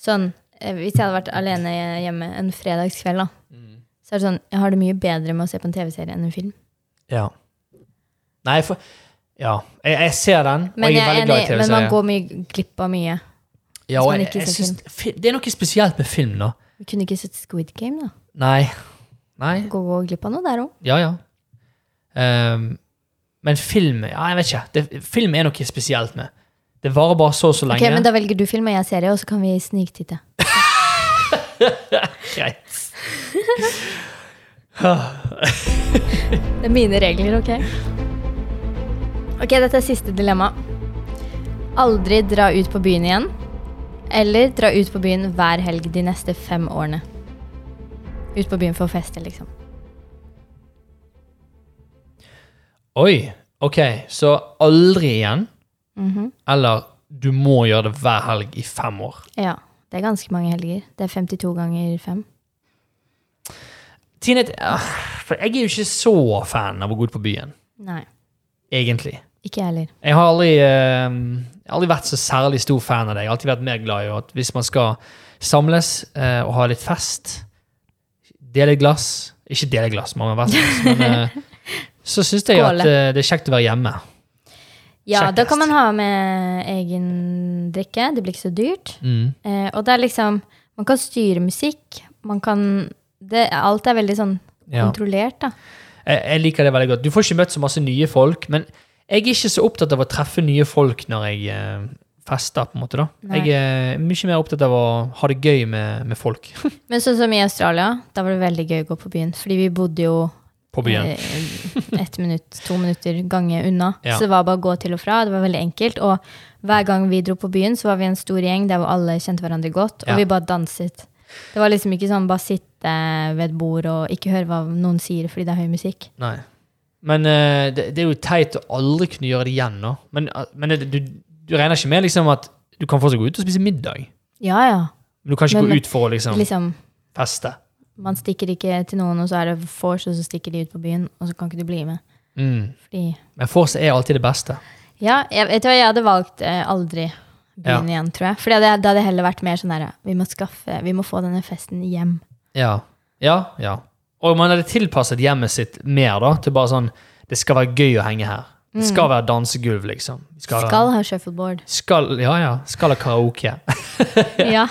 Speaker 2: Sånn, eh, Hvis jeg hadde vært alene hjemme en fredagskveld, da,
Speaker 1: Mm.
Speaker 2: så er det sånn, jeg har det mye bedre med å se på en TV-serie enn en film.
Speaker 1: Ja. Nei, for Ja. Jeg, jeg ser den, og
Speaker 2: Men,
Speaker 1: jeg er
Speaker 2: jeg er
Speaker 1: veldig glad i
Speaker 2: enig, men man
Speaker 1: TV-serier.
Speaker 2: går mye glipp av mye.
Speaker 1: Ja,
Speaker 2: hvis
Speaker 1: og
Speaker 2: man
Speaker 1: jeg,
Speaker 2: ikke
Speaker 1: jeg
Speaker 2: ser
Speaker 1: syns- fi- det er noe spesielt med film, da.
Speaker 2: Vi kunne ikke sett Squid Game, da.
Speaker 1: Nei. Nei.
Speaker 2: Gå, gå glipp av noe der òg.
Speaker 1: Ja, ja. Ehm, men film Ja, jeg vet ikke. Det, film er noe spesielt med. Det varer bare så og så lenge.
Speaker 2: Ok, men Da velger du film, og jeg serie, og så kan vi sniktitte.
Speaker 1: Greit.
Speaker 2: Det er mine regler, ok? Ok, Dette er siste dilemma. Aldri dra ut på byen igjen, eller dra ut på byen hver helg de neste fem årene. Ut på byen for å feste, liksom.
Speaker 1: Oi. OK, så aldri igjen.
Speaker 2: Mhm.
Speaker 1: Eller du må gjøre det hver helg i fem år.
Speaker 2: Ja, Det er ganske mange helger. Det er 52 ganger 5.
Speaker 1: Tine, ah, for jeg er jo ikke så fan av å gå ut på byen,
Speaker 2: Nei,
Speaker 1: egentlig.
Speaker 2: ikke jeg heller.
Speaker 1: Jeg har aldri, eh, jeg har aldri vært så særlig stor fan av det. Jeg har alltid vært mer glad i at hvis man skal samles eh, og ha litt fest, dele glass Ikke dele glass, man må være sammen, men eh, så syns jeg at
Speaker 2: Skåle.
Speaker 1: eh, det er kjekt å være hjemme.
Speaker 2: Ja, Da
Speaker 1: Kjekkest.
Speaker 2: kan man ha med egen drikke. Det blir ikke så dyrt.
Speaker 1: Mm.
Speaker 2: Eh, og det er liksom Man kan styre musikk. Man kan det, Alt er veldig sånn
Speaker 1: Ja.
Speaker 2: kontrollert, da.
Speaker 1: Jeg, jeg liker det veldig godt. Du får ikke møtt så masse nye folk, men Jeg er ikke så opptatt av å treffe nye folk når jeg eh, fester, på en måte. da.
Speaker 2: Nei.
Speaker 1: Jeg eh, er mye mer opptatt av å ha det gøy med, med folk
Speaker 2: Men sånn som i Australia, da var det veldig gøy å gå på byen. Fordi vi bodde jo
Speaker 1: på byen.
Speaker 2: eh, ett minutt, to minutter gange unna.
Speaker 1: Ja.
Speaker 2: Så det var bare å gå til og fra. Det var veldig enkelt. Og hver gang vi dro på byen, så var vi en stor gjeng der hvor alle kjente hverandre godt.
Speaker 1: Ja.
Speaker 2: Og vi bare danset. Det var liksom ikke sånn bare sitte ved et bord og ikke høre hva noen sier fordi det er høy musikk.
Speaker 1: Nei. Men eh, det, det er jo teit å aldri kunne gjøre det igjen nå. Men, eh, men det, du, du regner ikke med liksom at du kan fortsatt gå ut og spise middag.
Speaker 2: Ja, ja.
Speaker 1: Men du kan ikke
Speaker 2: Men-
Speaker 1: gå ut for å liksom
Speaker 2: Liksom,
Speaker 1: feste.
Speaker 2: man stikker ikke til noen, og så er det vors, og så stikker de ut på byen, og så kan ikke du bli med.
Speaker 1: Mm.
Speaker 2: Fordi
Speaker 1: Men vors er alltid det beste.
Speaker 2: Ja, jeg, vet du hva, jeg hadde valgt eh, aldri byen igjen, tror jeg. For da hadde jeg heller vært mer sånn der vi må skaffe, vi må få denne festen hjem.
Speaker 1: Ja. Ja, ja. Og man hadde tilpasset hjemmet sitt mer da, til bare sånn Det skal være gøy å henge her. Det skal være dansegulv, liksom. Vi
Speaker 2: Mm. Skal, ha shuffleboard.
Speaker 1: skal Ja, ja. Skal ha karaoke.
Speaker 2: ja.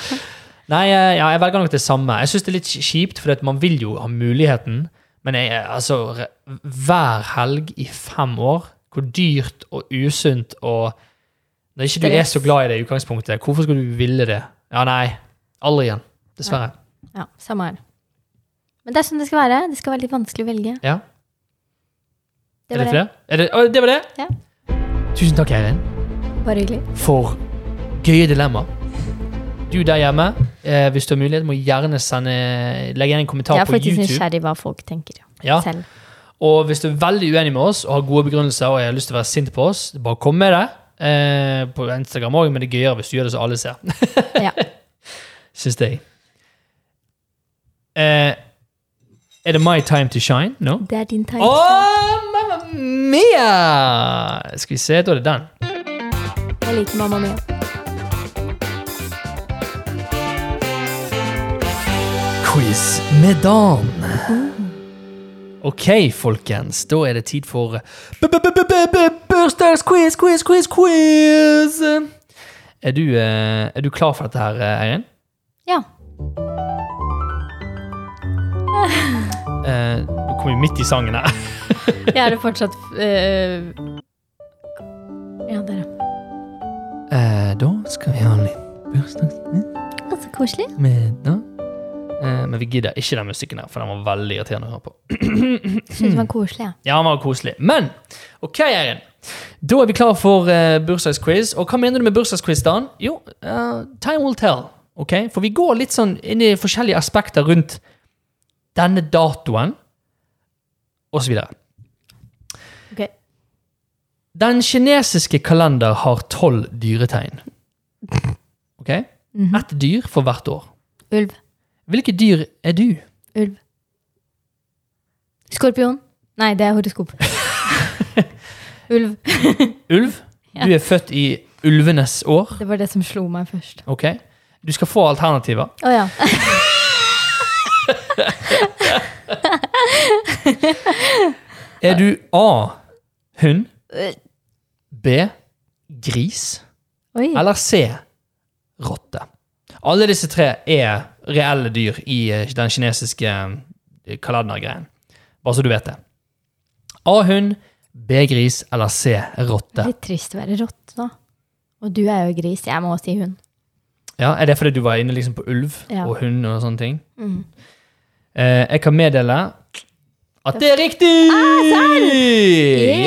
Speaker 1: Nei, eh, ja, jeg velger nok det samme. Jeg syns det er litt kjipt, for man vil jo ha muligheten. Men jeg, eh, altså, re- hver helg i fem år, hvor dyrt og usunt og Når ikke du er
Speaker 2: Stress.
Speaker 1: så glad i det i utgangspunktet, hvorfor skulle du ville det? Ja, nei. Aldri igjen. Dessverre.
Speaker 2: ja, samme her. Men det er sånn det skal være. Det skal være litt vanskelig å velge.
Speaker 1: Ja. er
Speaker 2: Det
Speaker 1: det
Speaker 2: var det.
Speaker 1: flere? Er det, å, det var det?
Speaker 2: Ja.
Speaker 1: Tusen takk, Eirin,
Speaker 2: Bare hyggelig.
Speaker 1: for gøye dilemma. Du der hjemme, eh, hvis du har mulighet, må gjerne sende, legge igjen en kommentar
Speaker 2: Jeg er
Speaker 1: på
Speaker 2: faktisk
Speaker 1: YouTube.
Speaker 2: nysgjerrig hva folk tenker
Speaker 1: Ja.
Speaker 2: selv.
Speaker 1: Og hvis du er veldig uenig med oss og har gode begrunnelser og har lyst til å være sint på oss, bare kom med det. Eh, på Instagram òg, men det er gøyere hvis du gjør det så alle ser.
Speaker 2: Ja.
Speaker 1: Syns jeg. Eh, er det my time to shine nå?
Speaker 2: Det er din
Speaker 1: Å,
Speaker 2: time. Åh!
Speaker 1: mamma mia! Skal vi se, da er det den.
Speaker 2: Jeg liker mamma mi.
Speaker 1: Quiz med Dan. Ok, folkens. Da er det tid for b- b- b- b- b- b- bursdagsquiz, quiz, quiz, quiz. Er du, eh, er du klar for dette her, eh, Eirin?
Speaker 2: Ja.
Speaker 1: Eh, Du kom jo midt i sangen her.
Speaker 2: Jeg er det fortsatt øh, Ja, der, ja.
Speaker 1: Eh, Da skal vi ha en liten bursdagsquiz
Speaker 2: Å, Så koselig.
Speaker 1: med Dan. Eh, Men vi gidder ikke den musikken her, for den var veldig irriterende å høre på.
Speaker 2: Syns det var koselig, ja.
Speaker 1: Ja, han var koselig. Men ok, Eirin. Da er vi klar for eh, bursdagsquiz. Og hva mener du med bursdagsquiz, Dan? Jo, eh, time will tell. ok? For vi går litt sånn inn i forskjellige aspekter rundt denne datoen, og så videre.
Speaker 2: Ok.
Speaker 1: Den kinesiske kalender har tolv dyretegn. Ok? Ett dyr for hvert år.
Speaker 2: Ulv.
Speaker 1: Hvilke dyr er du?
Speaker 2: Ulv. Skorpion. Nei, det er horoskop. Ulv.
Speaker 1: Ulv?
Speaker 2: Ja.
Speaker 1: Du er født i ulvenes år.
Speaker 2: Det var det som slo meg først.
Speaker 1: Ok? Du skal få alternativer.
Speaker 2: Å ja.
Speaker 1: Er du A. Hund. B. Gris.
Speaker 2: Oi.
Speaker 1: Eller C. Rotte. Alle disse tre er reelle dyr i eh, den kinesiske eh, kalendergreien. Bare så du vet det. A. Hund. B. Gris. Eller C. Rotte.
Speaker 2: Litt trist å være rått da. Og du er jo gris. Jeg må si hund.
Speaker 1: Ja, Er det fordi du var inne liksom på ulv
Speaker 2: Ja.
Speaker 1: og hund og sånne ting?
Speaker 2: Mhm.
Speaker 1: Eh, jeg kan meddele at det er riktig!
Speaker 2: Ah, Yeah!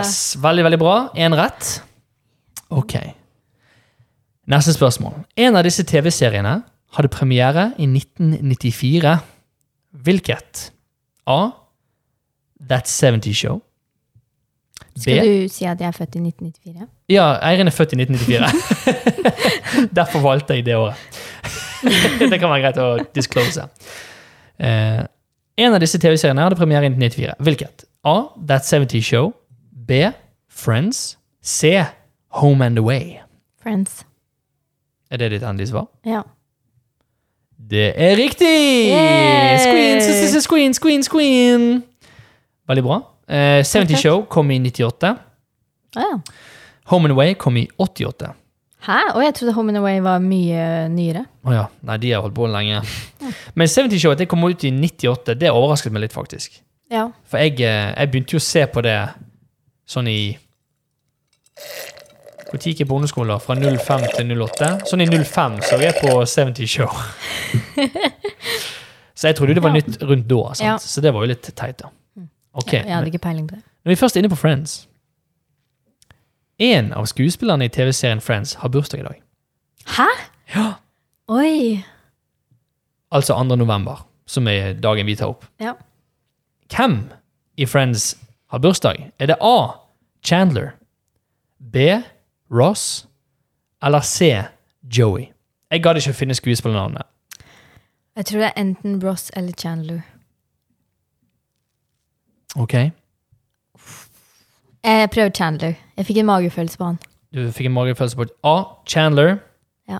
Speaker 1: Yes! Veldig, veldig bra. Én rett. Ok. Neste spørsmål. En av disse TV-seriene hadde premiere i 1994. Hvilket? A. That 70 Show.
Speaker 2: Skal du si at jeg er født i 1994?
Speaker 1: Ja, Eirin er født i 1994. Derfor valgte jeg det året. det kan være greit å disclose. Eh, en av disse TV-seriene hadde premiere i 1994. Hvilket? A. That 70 Show. B. Friends. C. Home and Away.
Speaker 2: Friends.
Speaker 1: Er det ditt endelige svar?
Speaker 2: Ja.
Speaker 1: Det er riktig!
Speaker 2: Yay!
Speaker 1: Squeen, s- s- s- squeen, squeen, squeen. Veldig bra. Eh, 70
Speaker 2: Perfekt.
Speaker 1: Show kom i 98.
Speaker 2: Å ja.
Speaker 1: Home and Away kom i 88.
Speaker 2: Hæ? Å, jeg trodde Home and Away var mye nyere.
Speaker 1: Å ja. Nei, de har holdt på lenge. Men 70 Show at det kom ut i 98, det overrasket meg litt, faktisk.
Speaker 2: Ja.
Speaker 1: For jeg, eh, jeg begynte jo å se på det sånn i Når gikk jeg på ungdomsskolen? Fra 05 til 08? Sånn i 05 så jeg på 70 Show. så jeg trodde det var
Speaker 2: Ja.
Speaker 1: nytt rundt da, sant?
Speaker 2: Ja.
Speaker 1: så det var jo litt teit, da. Ok,
Speaker 2: Jeg hadde ikke peiling på det.
Speaker 1: Når vi først er inne på Friends En av skuespillerne i TV-serien Friends har bursdag i dag.
Speaker 2: Hæ?
Speaker 1: Ja.
Speaker 2: Oi!
Speaker 1: Altså 2. november, som er dagen vi tar opp.
Speaker 2: Ja.
Speaker 1: Hvem i Friends har bursdag? Er det A. Chandler, B. Ross eller C. Joey? Jeg gadd ikke å finne skuespillernavnet.
Speaker 2: Jeg tror det er enten Ross eller Chandler.
Speaker 1: Ok.
Speaker 2: Eh, Jeg prøver Chandler. Jeg fikk en magefølelse på han.
Speaker 1: Du fikk en magefølelse på A. Chandler.
Speaker 2: Ja.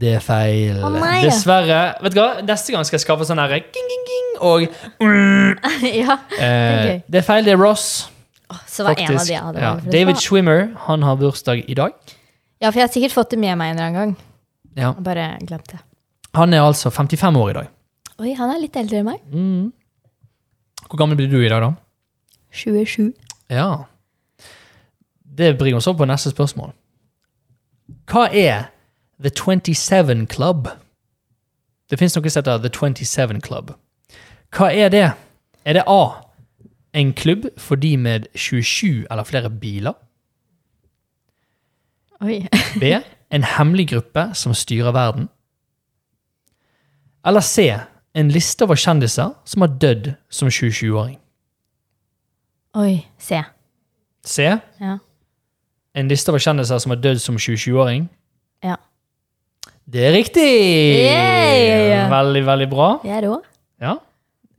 Speaker 1: Det er feil.
Speaker 2: Å, nei.
Speaker 1: Dessverre. Vet du hva? Neste gang skal jeg skaffe sånn her ging, ging, ging, og
Speaker 2: ja.
Speaker 1: eh,
Speaker 2: gøy.
Speaker 1: Det er feil, det er Ross.
Speaker 2: Åh, Så var en av
Speaker 1: faktisk.
Speaker 2: de jeg hadde
Speaker 1: ja.
Speaker 2: magefølelse
Speaker 1: David
Speaker 2: på.
Speaker 1: Schwimmer han har bursdag i dag.
Speaker 2: Ja, for jeg har sikkert fått det med meg en eller annen gang.
Speaker 1: Ja.
Speaker 2: Jeg bare glemt det.
Speaker 1: Han er altså 55 år i dag.
Speaker 2: Oi, han er litt eldre enn meg.
Speaker 1: Hvor gammel blir du i dag, da?
Speaker 2: 27.
Speaker 1: Ja. Det bringer oss over på neste spørsmål. Hva er The 27 Club? Det fins noe som heter The 27 Club. Hva er det? Er det A. En klubb for de med 27 eller flere biler?
Speaker 2: Oi.
Speaker 1: B. En hemmelig gruppe som styrer verden. Eller C. En liste over kjendiser som har dødd som 27-åring.
Speaker 2: Oi. Se.
Speaker 1: C.
Speaker 2: Ja.
Speaker 1: En liste over kjendiser som har dødd som 27-åring.
Speaker 2: Ja.
Speaker 1: Det er riktig!
Speaker 2: Yay!
Speaker 1: Veldig, veldig bra.
Speaker 2: Jeg er rå.
Speaker 1: Ja,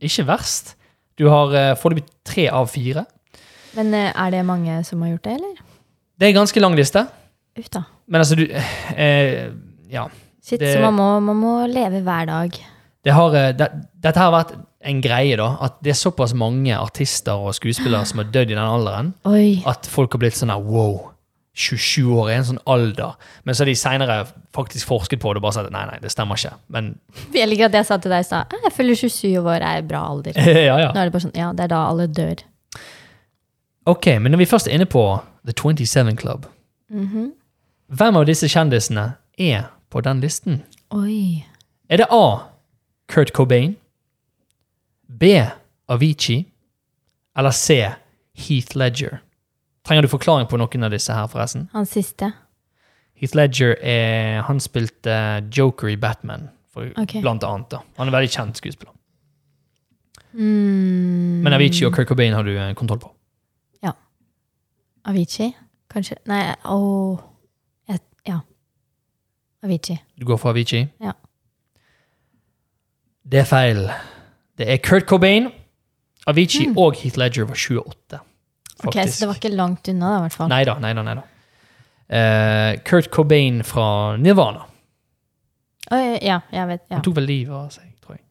Speaker 1: Ikke verst. Du har eh, foreløpig tre av fire.
Speaker 2: Men eh, er det mange som har gjort det, eller?
Speaker 1: Det er en ganske lang liste,
Speaker 2: Uff da.
Speaker 1: men altså, du eh, Ja.
Speaker 2: Shit,
Speaker 1: Det-
Speaker 2: så man må, man må leve hver dag.
Speaker 1: det har, eh, det, dette har vært en greie, da. At det er såpass mange artister og skuespillere som har dødd i den alderen,
Speaker 2: Oi.
Speaker 1: at folk har blitt sånn her wow. 27 år er en sånn alder. Men så har de seinere faktisk forsket på det og bare sagt nei, nei, det stemmer ikke. Men
Speaker 2: Jeg liker at jeg sa til deg i stad «Ah, jeg føler 27 år er bra alder.
Speaker 1: ja, ja.
Speaker 2: Nå er det bare sånn, ja, det er da alle dør.
Speaker 1: Ok, men når vi først er inne på The 27 Club,
Speaker 2: Mhm.
Speaker 1: hvem av disse kjendisene er på den listen?
Speaker 2: Oi.
Speaker 1: Er det A. Kurt Cobain, B. Avicii, eller C. Heath Ledger? Trenger du forklaring på noen av disse her, forresten?
Speaker 2: Han siste.
Speaker 1: Heath Ledger er, han spilte eh, Joker i Batman, for,
Speaker 2: Ok.
Speaker 1: blant annet. Da. Han er en veldig kjent skuespiller.
Speaker 2: Mm,
Speaker 1: Men Avicii og Kurt Cobain har du eh, kontroll på.
Speaker 2: Avicii, kanskje? Nei, åh. Jeg- Ja. Avicii.
Speaker 1: Du går for Avicii?
Speaker 2: Ja.
Speaker 1: Det er feil. Det er Kurt Cobain, Avicii og Heath Ledger var 28.
Speaker 2: Hmm. Ok, Så det var ikke langt unna, da, i hvert fall.
Speaker 1: Neida, neida, neida. Eh, Kurt Cobain fra Nirvana.
Speaker 2: Oi, ja, jeg vet. Ja.
Speaker 1: Han tok vel livet av seg, tror jeg.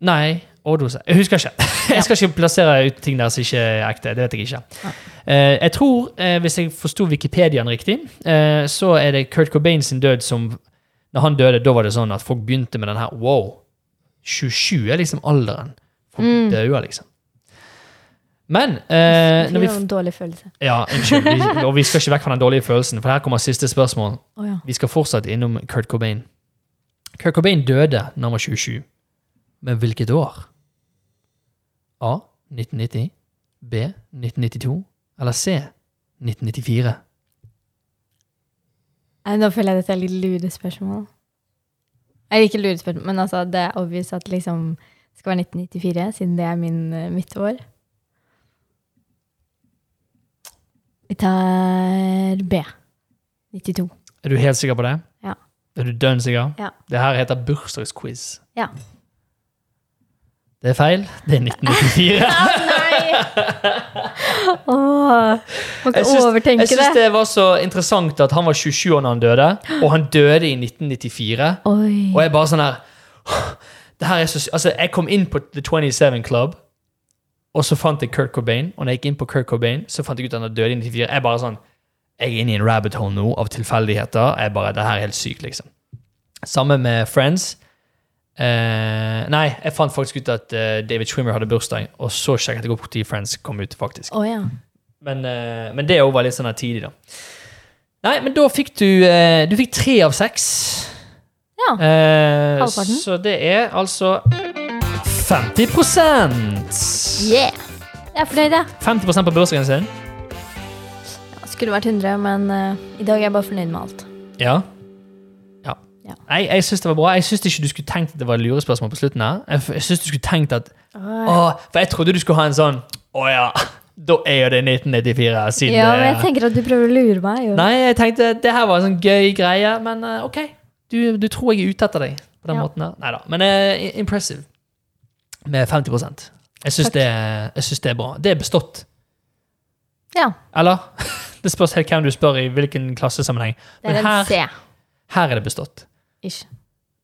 Speaker 1: Nei, overdose. Jeg husker ikke. Jeg skal ikke plassere ut ting der som ikke er ekte. Det vet jeg ikke.
Speaker 2: Nei.
Speaker 1: Eh, jeg tror, eh, hvis jeg forsto Wikipediaen riktig, eh, så er det Kurt Cobain sin død som Når han døde, da var det sånn at folk begynte med den her Wow, 27 er liksom alderen. Folk
Speaker 2: Mm.
Speaker 1: dauer, liksom. Men eh, når
Speaker 2: Fikk
Speaker 1: vi,
Speaker 2: jo en dårlig følelse.
Speaker 1: Ja, unnskyld. Vi, og vi skal ikke vekk fra den dårlige følelsen, for her kommer siste spørsmål.
Speaker 2: Å ja.
Speaker 1: Vi skal fortsatt innom Kurt Cobain. Kurt Cobain døde når han var 27. Men hvilket år? A. 1990. B. 1992. Eller C. 1994.
Speaker 2: Nei, Nå føler jeg dette er litt lurespørsmål. Eller ikke lurespørsmål, men altså, det er obvious at liksom, det skal være 1994, siden det er min, eh, mitt år. Vi tar B. 92.
Speaker 1: Er du helt sikker på det?
Speaker 2: Ja.
Speaker 1: Er du dønn sikker?
Speaker 2: Ja.
Speaker 1: Det her heter bursdagsquiz.
Speaker 2: Ja.
Speaker 1: Det er feil. Det er 1994.
Speaker 2: Nei! Åh, må ikke
Speaker 1: Jeg syns-
Speaker 2: overtenke
Speaker 1: Jeg syns
Speaker 2: det.
Speaker 1: det var så interessant at han var 27 år når han døde, og han døde i 1994.
Speaker 2: Oi.
Speaker 1: Og jeg bare sånn her det her er så, sy- Altså, jeg kom inn på The 27 Club, og så fant jeg Kurt Cobain. Og når jeg gikk inn på Kurt Cobain, så fant jeg ut at han hadde dødd i 94. Jeg bare sånn Jeg er inne i en rabbit hole nå av tilfeldigheter. Jeg bare, Det her er helt sykt, liksom. Samme med Friends. Eh, nei, jeg fant faktisk ut at eh, David Schwimmer hadde bursdag, og så sjekket jeg opp når Friends kom ut. faktisk.
Speaker 2: Å ja.
Speaker 1: Men, eh, men det òg var litt sånn her tidlig, da. Nei, men da fikk du eh, Du fikk tre av seks.
Speaker 2: Ja.
Speaker 1: Eh,
Speaker 2: Halvparten.
Speaker 1: så det er altså 50
Speaker 2: Yeah! Jeg er fornøyd, jeg.
Speaker 1: 50 på bursdagen sin.
Speaker 2: Ja, Skulle vært 100, men eh, i dag er jeg bare fornøyd med alt.
Speaker 1: Ja. ja.
Speaker 2: Ja.
Speaker 1: Nei, jeg syns det var bra. Jeg syns ikke du skulle tenkt at det var lurespørsmål på slutten. her. Jeg, f- jeg synes du skulle tenkt at Åh, For jeg trodde du skulle ha en sånn Å ja, da er jo det 1994, siden
Speaker 2: Ja,
Speaker 1: det
Speaker 2: men jeg tenker at du prøver å lure meg. Jo.
Speaker 1: eh, Nei, jeg tenkte det her var en sånn gøy greie, men eh, OK. Du, du tror jeg er ute etter deg på den
Speaker 2: Ja.
Speaker 1: måten her. Nei da. Men eh, impressive med 50 Jeg syns
Speaker 2: Takk.
Speaker 1: det, jeg synes det er bra. Det er bestått.
Speaker 2: Ja,
Speaker 1: Eller? Det spørs helt hvem du spør i hvilken klassesammenheng.
Speaker 2: det
Speaker 1: Men
Speaker 2: er en
Speaker 1: her,
Speaker 2: C.
Speaker 1: her er det bestått.
Speaker 2: Ish.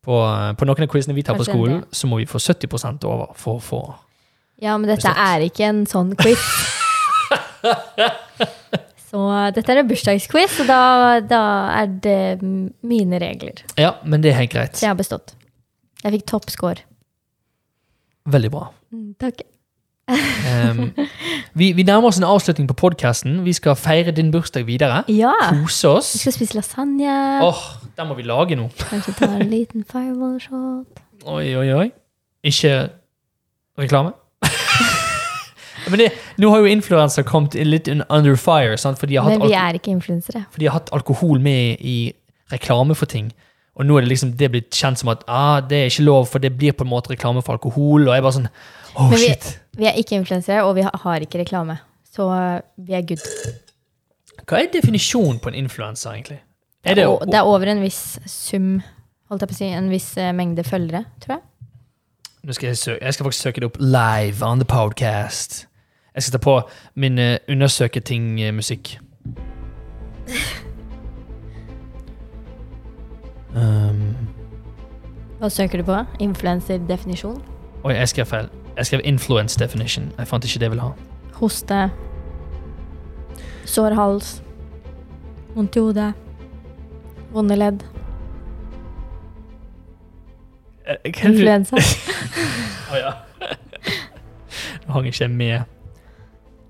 Speaker 1: På, eh, på noen av quizene vi tar på
Speaker 2: Kanskje
Speaker 1: skolen,
Speaker 2: det.
Speaker 1: så må vi få 70 over for å få
Speaker 2: Ja, men dette
Speaker 1: Bestemt.
Speaker 2: er ikke en sånn quiz. Så eh, dette er en bursdagsquiz, og da, da er det m- mine regler.
Speaker 1: Ja, men det er helt greit.
Speaker 2: Så jeg har bestått. Jeg fikk toppscore.
Speaker 1: Veldig bra.
Speaker 2: Mm, Takk.
Speaker 1: Em, vi, vi nærmer oss en avslutning på podkasten. Vi skal feire din bursdag videre.
Speaker 2: Ja!
Speaker 1: Kose oss.
Speaker 2: Vi skal spise lasagne.
Speaker 1: Åh, der må vi lage noe.
Speaker 2: Kanskje ta en liten fireball shot.
Speaker 1: Oi, oi, oi. Ikke reklame? men det, nå har jo influenser kommet i litt un- under fire, sant? For, de har hatt
Speaker 2: Men vi
Speaker 1: alko-
Speaker 2: er ikke influensere.
Speaker 1: for de har hatt alkohol med i reklame for ting. Og nå er det liksom det er blitt kjent som at ah, det er ikke lov, for det blir på en måte reklame for alkohol. Og jeg bare sånn Åh,
Speaker 2: Men vi-
Speaker 1: shit.
Speaker 2: Vi er ikke influensere, og vi ha- har ikke reklame. Så eh, vi er good.
Speaker 1: Hva er definisjonen på en influenser, egentlig? Er det,
Speaker 2: Og det er over en viss sum, holdt jeg på å si, en viss eh, mengde følgere, tror jeg.
Speaker 1: Nå skal jeg, sø- jeg skal faktisk søke det opp live on the podcast. Jeg skal ta på min eh, undersøke ting-musikk. Um,
Speaker 2: Hva søker du på? Influenserdefinisjon?
Speaker 1: oi, jeg skrev feil. Jeg skrev influence definition. Jeg fant ikke det jeg ville ha.
Speaker 2: Hoste. Sår hals. Vondt i hodet. Vonde ledd.
Speaker 1: Eh, kan du-
Speaker 2: Influensa.
Speaker 1: Å, ja. Nå hang ikke jeg med.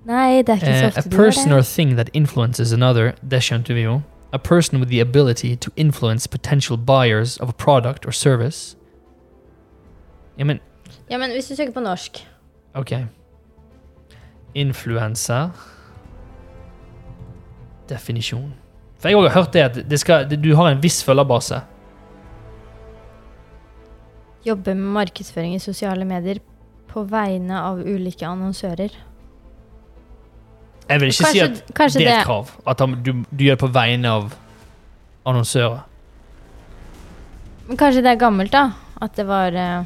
Speaker 2: Nei, det er ikke så
Speaker 1: Eh, a
Speaker 2: ofte du gjør
Speaker 1: person
Speaker 2: det.
Speaker 1: or thing that influences another, det skjønte vi jo. A person with the ability to influence potential buyers of a product or service. Ja, men,
Speaker 2: Ja, men hvis du søker på norsk
Speaker 1: ok. Influencer. Definisjon. For jeg har også hørt det at det skal, det, du har en viss følgerbase.
Speaker 2: Jobbe med markedsføring i sosiale medier på vegne av ulike annonsører.
Speaker 1: Jeg vil ikke si at
Speaker 2: Kanskje, kanskje
Speaker 1: det
Speaker 2: det
Speaker 1: er et krav. At han, du, du gjør det på vegne av annonsører.
Speaker 2: Men kanskje det er gammelt, da. At det var eh,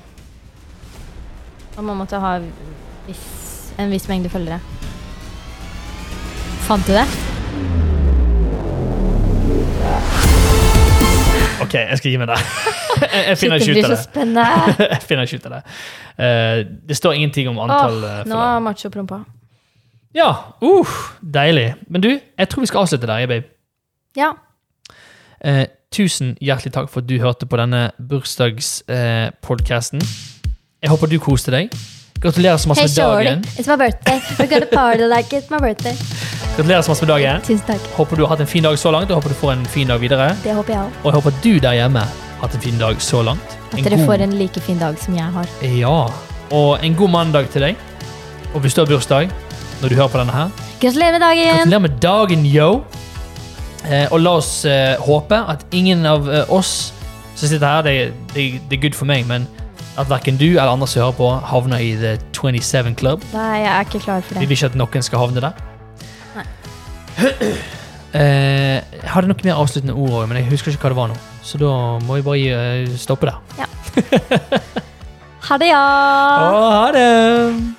Speaker 2: At man måtte ha viss, en viss mengde følgere. Fant du det?
Speaker 1: Ok, jeg skal gi meg der. jeg, jeg
Speaker 2: Shit,
Speaker 1: finner
Speaker 2: det
Speaker 1: ikke ut av
Speaker 2: blir så
Speaker 1: det.
Speaker 2: spennende.
Speaker 1: Jeg finner ikke ut av det. Eh, det står ingenting om antall. eh,
Speaker 2: Åh,
Speaker 1: for
Speaker 2: nå
Speaker 1: det.
Speaker 2: har macho prompa.
Speaker 1: Ja, uh, deilig. Men du, jeg tror vi skal avslutte der, jeg, babe.
Speaker 2: Ja.
Speaker 1: Eh, tusen hjertelig takk for at du hørte på denne bursdagspodkasten. jeg håper du koste deg. Gratulerer så masse
Speaker 2: Hey,
Speaker 1: med
Speaker 2: Shorty,
Speaker 1: dagen.
Speaker 2: it's my birthday. We're gonna party like it's my birthday.
Speaker 1: Gratulerer så masse med dagen.
Speaker 2: Tusen takk.
Speaker 1: Håper du har hatt en fin dag så langt, og håper du får en fin dag videre.
Speaker 2: Det håper jeg òg.
Speaker 1: Og jeg håper at du der hjemme har hatt en fin dag så langt.
Speaker 2: At dere får en like fin dag som jeg har.
Speaker 1: Ja. Og en god mandag til deg. Og hvis du har bursdag når du hører på denne her,
Speaker 2: Gratulerer med dagen!
Speaker 1: Gratulerer med dagen, yo! Eh, og la oss eh, håpe at ingen av eh, oss som sitter her, det, det, det er good for meg, men at verken du eller andre som hører på, havner i The 27 Club.
Speaker 2: Nei, jeg er ikke klar for
Speaker 1: Vi
Speaker 2: det.
Speaker 1: vil ikke at noen skal havne der.
Speaker 2: Nei.
Speaker 1: Eh, jeg hadde noen mer avsluttende ord òg, men jeg husker ikke hva det var nå. Så da må vi bare gi, eh, stoppe der.
Speaker 2: Ha det, ja!
Speaker 1: Å, ha det!